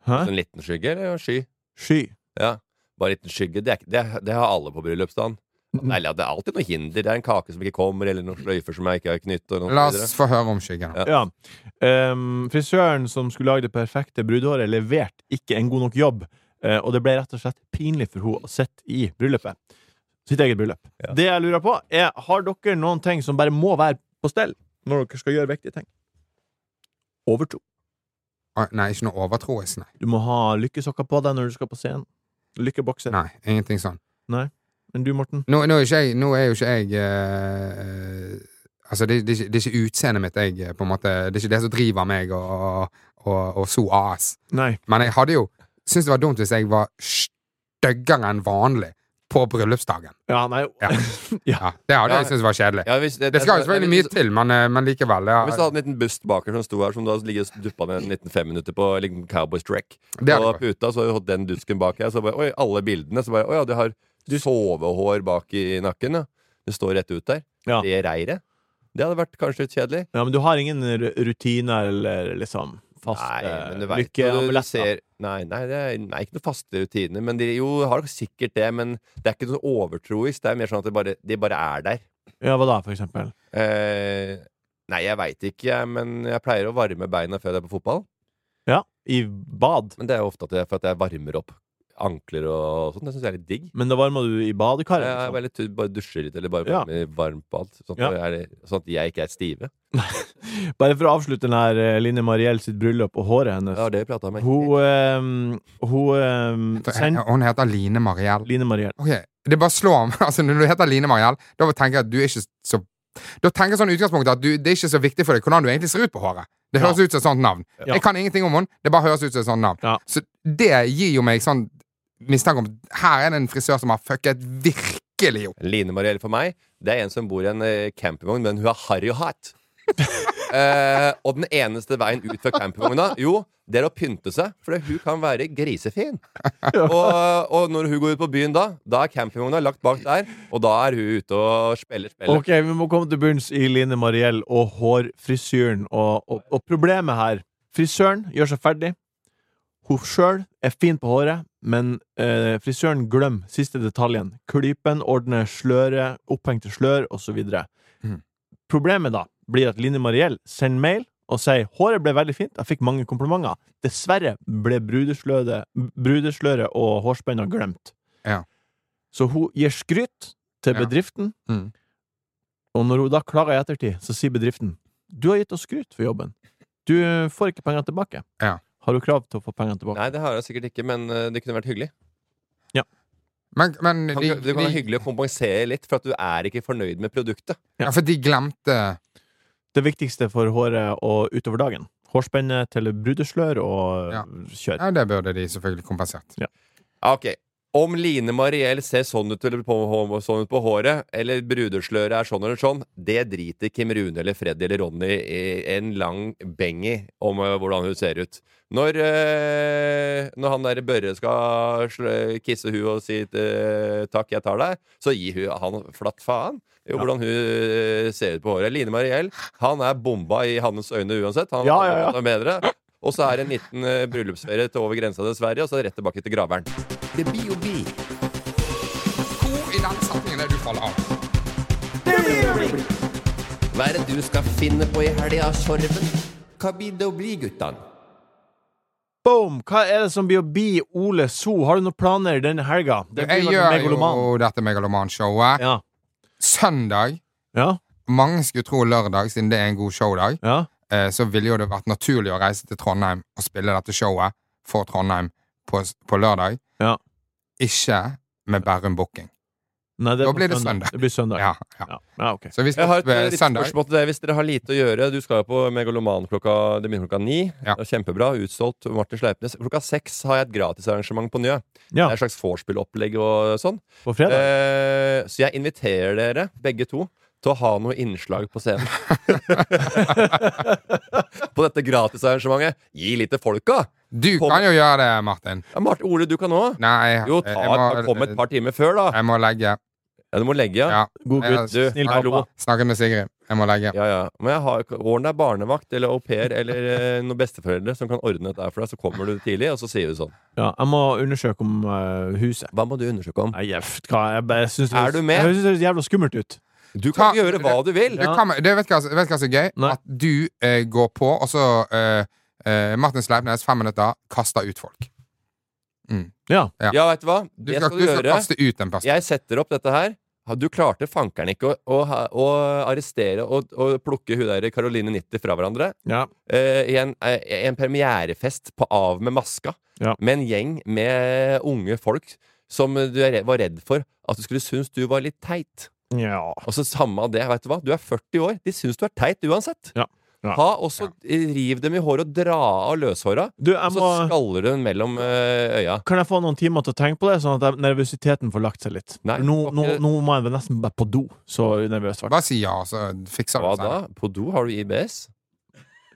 S2: Hæ?
S3: En liten skygge, eller en sky?
S2: Sky.
S3: Ja, bare en liten skygge. Det, er, ikke- det, det har alle på bryllupsdagen. Nei, eller det er alltid noe hinder. Det er en kake som ikke kommer, eller noen sløyfer som jeg ikke har knytt. Og noe
S4: La
S3: videre.
S4: oss få høre om skyggen.
S3: Ja.
S2: Ja. Ehm, frisøren som skulle lage det perfekte brudehåret, leverte ikke en god nok jobb. eh, og det ble rett og slett pinlig for henne å sitte i bryllupet. Sitt eget bryllup.
S3: Ja.
S2: Det jeg lurer på, er har dere noen ting som bare må være på stell når dere skal gjøre viktige ting? Overtro.
S4: Å, Ah, Nei, ikke noe overtroisk, nei.
S2: Du må ha lykkesokker på deg når du skal på scenen. Lykkebokser.
S4: nei. Ingenting sånn.
S2: Men du, Morten?
S4: Nå, nå, er, ikke jeg, nå er jo ikke jeg eh, Altså, det, det, er ikke- det er ikke utseendet mitt jeg eh, på en måte Det er ikke det som driver meg og, og, og, og so AS.
S2: Nei.
S4: Men jeg hadde jo syntes det var dumt hvis jeg var styggere enn vanlig på bryllupsdagen.
S2: Ja, nei
S4: Ja. Det hadde jeg syntes var kjedelig. det, skal jo selvfølgelig mye til, men, eh, men likevel. Ja.
S3: Hvis du hadde en liten bust baker som sto her, som du hadde ligget og duppa ned en liten femminutter på liksom Cowboys Track
S4: Det hadde
S3: Og puta, så hadde du hatt den dusken bak her. Så bare, oi, alle bildene. Så bare, oi, ja, du har sovehår bak i nakken. Ja. Det står rett ut der. Det reiret. Det hadde vært kanskje litt kjedelig.
S2: Ja, men du har ingen ru- rutiner eller liksom fast
S3: Nei, men du
S2: eh,
S3: vet
S2: lykke-
S3: jo, du, du
S2: amulett, da.
S3: ser, nei, nei, det er, nei, ikke noen faste rutiner. Men de jo har sikkert det, men det er ikke noe overtroisk. Det er mer sånn at det bare, de bare er der.
S2: Ja, hva da, for eksempel?
S3: Eh, nei, jeg veit ikke, jeg, men jeg pleier å varme beina før jeg er på fotball.
S2: Ja, I bad.
S3: Men det er jo ofte at jeg, for at jeg varmer opp ankler og sånn. Det syns jeg er litt digg.
S2: Men da varma du i badekaret?
S3: Jeg,
S2: liksom.
S3: bare, litt, bare dusjer litt, eller bare
S2: Ja.
S3: varmer varmt bad. Sånn at,
S2: Ja.
S3: jeg er- sånn at jeg ikke er stive.
S2: Bare for å avslutte den her eh, Line Mariell sitt bryllup og håret hennes.
S3: Ja, det pratet jeg med.
S2: Hun, ehm, hun ehm, send-
S4: Hun heter Line Mariell.
S2: Line Mariell.
S4: Ok, Det bare slår meg. Altså, når du heter Line Mariell, da tenker jeg at du er ikke så Da tenker jeg sånn i utgangspunktet at du, det er ikke så viktig for deg hvordan du egentlig ser ut på håret. Det høres ut som et sånt navn.
S2: Ja.
S4: Jeg kan ingenting om henne, det bare høres ut som et sånt navn. Så det gir jo meg sånn mistanke om at her er det en frisør som har fucket virkelig opp.
S3: Line Mariell for meg, det er en som bor i en eh, campingvogn, men hun er harry og hat. Eh, og den eneste veien ut fra campingvogna, jo, det er å pynte seg. For hun kan være grisefin. Og, og når hun går ut på byen da, da er campingvogna lagt bak der, og da er hun ute og spiller spillet.
S2: Ok, vi må komme til bunns i Line Mariell og hårfrisyren. Og, og, og problemet her Frisøren gjør seg ferdig. Hun sjøl er fin på håret, men eh, frisøren glemmer siste detaljen. Klypen ordner sløret, opphengte slør, osv.
S4: Mhm.
S2: Problemet da blir at Line Mariell sender mail og sier håret ble veldig fint, jeg fikk mange komplimenter. Dessverre ble brudesløret, brudesløret og hårspenna glemt.
S4: Ja.
S2: Så hun gir skryt til
S4: Ja.
S2: bedriften,
S4: Mm.
S2: og når hun da klager i ettertid, så sier bedriften Du har gitt oss skryt for jobben. Du får ikke pengene tilbake.
S4: Ja.
S2: Har du krav til å få pengene tilbake?
S3: Nei, det har hun sikkert ikke, men eh, det kunne vært hyggelig.
S4: Men, men
S3: Kan,
S4: de,
S3: det kan være
S4: de,
S3: hyggelig å kompensere litt, for at du er ikke fornøyd med produktet.
S4: ja, for de glemte
S2: Det viktigste for håret og utover dagen. Hårspenne til brudeslør og
S4: Ja.
S2: kjør.
S4: Ja, det burde de selvfølgelig kompensert.
S3: Ah, Ok, om Line Mariell ser sånn ut, eller på, hå- sånn ut på håret, eller brudesløret er sånn eller sånn, det driter Kim Rune eller Freddy eller Ronny i en lang beng i om eh, hvordan hun ser ut. Når, eh, når han der Børre skal slø, kisse hun og si eh, 'takk, jeg tar deg', så gir hun han flatt faen i hvordan hun eh, ser ut på håret. Line Mariell, han er bomba i hans øyne uansett. Han
S2: Ja, ja, ja.
S3: han er bedre. Og så er det en liten eh, bryllupsferie til over grensa til Sverige, og så rett tilbake til graveren. Det blir jo bi.
S4: Hvor i den setningen er det du faller av?
S3: Hva er det du skal finne på i helga, Sorven? Hva blir det å bli, guttan?
S2: Boom! Hva er det som blir å bli Ole So? Har du noen planer denne helga? Det blir
S4: Jeg
S2: vel
S4: gjør
S2: megaloman.
S4: jo dette megalomanshowet.
S2: Ja.
S4: Søndag
S2: Ja.
S4: Mange skulle tro lørdag, siden det er en god showdag.
S2: Ja.
S4: eh, så ville jo det vært naturlig å reise til Trondheim og spille dette showet for Trondheim på, på lørdag.
S2: ja.
S4: Ikke med Bærum Booking.
S2: Nei, det er
S4: Da
S2: på
S4: blir det søndag.
S2: Det blir søndag.
S4: Ja, ja.
S2: Ja. Ja, ok.
S4: Så vi
S3: Jeg
S4: skal
S3: har et eh,
S4: eh,
S3: litt
S4: søndag.
S3: spørsmål til deg hvis dere har lite å gjøre. Du skal jo på Megaloman klokka det begynner klokka ni.
S4: Ja.
S3: Det er kjempebra. Utsolgt. Martin Sleipnes. Klokka seks har jeg et gratisarrangement på Njø. Det
S2: Ja.
S3: er et slags vorspielopplegg og sånn.
S2: På fredag?
S3: Eh, så jeg inviterer dere, begge to, til å ha noe innslag på scenen. på dette gratisarrangementet. Gi litt til folka!
S4: Du kan jo gjøre det, Martin.
S3: Ja, Martin, Ole, du kan òg.
S4: Nei, jeg,
S3: Jo,
S4: jeg,
S3: ta,
S4: jeg,
S3: ta, kom et
S4: må,
S3: par timer før, da.
S4: jeg må legge.
S3: Ja, du må legge, ja.
S4: Ja.
S2: God
S4: Jeg-
S2: gutt.
S3: Du,
S2: Snill
S3: hallo.
S2: pappa.
S4: Snakket med Sigrid. Jeg må legge.
S3: Ja, ja. Men jeg har, ordne deg barnevakt eller au pair eller eh, noen besteforeldre som kan ordne dette her for deg. Så kommer du tidlig, og så sier du sånn.
S2: Ja, jeg må undersøke om eh, huset.
S3: Hva må du undersøke om?
S2: Nei, jeg, f- hva, jeg, bare- jeg syns det
S3: Er du med?
S2: Jeg synes det høres jævla skummelt ut.
S3: Du kan gjøre hva du vil.
S4: Du kan, det vet du hva, som- vet du hva som er gøy?
S2: Nei.
S4: At du eh, går på, og så eh, eh, Martin Sleipnes, fem minutter, kaster ut folk.
S2: Ja.
S4: Ja.
S3: Ja, vet du hva?
S4: Du
S3: Det
S4: skal,
S3: skal
S4: du
S3: du
S4: skal
S3: gjøre.
S4: kaste ut en person.
S3: Altså, Jeg setter opp dette her. Ha, Du klarte fankeren ikke å, å, ha- å arrestere og, og plukke hun der Caroline 90 fra hverandre.
S2: ja.
S3: eh, i en, eh, i en premierefest på Av med maska,
S2: Ja.
S3: med en gjeng med unge folk som du er, var redd for at du skulle synes du var litt teit.
S2: ja.
S3: Og så samme av det, vet du hva? Du er 40 år, de synes du er teit uansett.
S2: Ja.
S3: Ha, og så riv dem i håret og dra av løshåra. Og så skaller du den mellom eh, øya.
S2: Kan jeg få noen timer til å tenke på det, sånn at jeg- nervøsiteten får lagt seg litt? For nå, nå, nå må jeg nesten bare på do, så nervøs ble jeg.
S4: Bare si ja, så fikser
S3: Hva
S4: det
S3: da? På do? Har du IBS?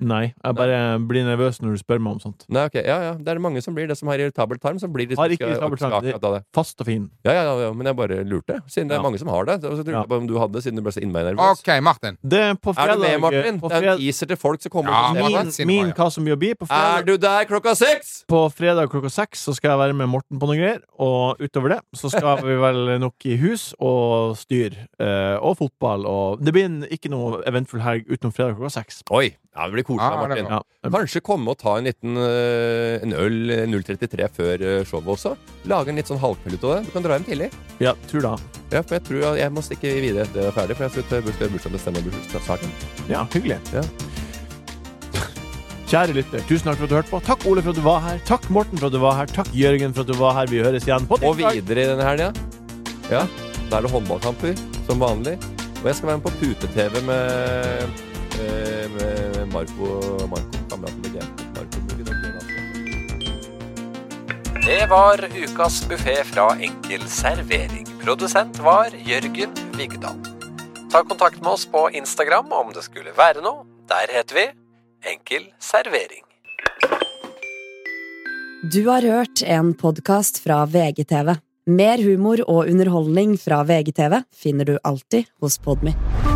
S2: Nei, jeg bare blir nervøs når du spør meg om sånt.
S3: Nei, ok, ja, ja. Det er mange som blir det som har irritabel tarm. Som blir litt
S2: Har ikke
S3: skak-
S2: irritabel tarm.
S3: skaket av det.
S2: Fast og fin.
S3: Ja, ja, ja, men jeg bare lurte. Siden det er mange som har det. Så jeg lurte jeg på om du hadde det, siden du ble så innmari nervøs.
S4: OK, Martin.
S2: Det på
S3: Er du med,
S2: fredag-
S3: Martin?
S2: på
S3: Det er
S2: fredag-
S3: en teaser til folk som kommer og ser på
S2: min,
S3: deg.
S2: min hva som gjør bi på fredag.
S3: Er du der klokka seks?
S2: På fredag klokka seks så skal jeg være med Morten på noen greier, og utover det så skal vi vel nok i hus og styr eh, og fotball og Det blir en, ikke noe eventfull helg utenom fredag klokka seks.
S3: Oi! Ja, det blir koselig,
S2: Ja, det er
S3: Martin.
S2: bra.
S3: Kanskje komme og ta en liten øh, en øl øh, 033 før øh, showet også. Lage en litt sånn halvkveld ut av det. Du kan dra hjem tidlig.
S2: Ja, tur da.
S3: Ja, for jeg tror jeg må stikke videre etter det er ferdig, for jeg skal til bursdag- bursdagsbestemme bursdagssaken.
S2: Ja, hyggelig. Kjære lytter, tusen takk for at du hørte på. Takk Ole for at du var her. Takk Morten for at du var her. Takk Jørgen for at du var her. Vi høres igjen på
S3: Og videre i denne helga. Ja, da er det håndballkamper, som vanlig. Og jeg skal være med på pute-TV med, eh, med Marco, Marco kameraten min. ja. Marco, Bugge, den blir vanskelig.
S12: Det var ukas buffé fra Enkel servering. Produsent var Jørgen Vigdal. Ta kontakt med oss på Instagram om det skulle være noe. Der heter vi Enkel servering.
S13: Du har hørt en podkast fra VGTV. Mer humor og underholdning fra VGTV finner du alltid hos Podmy.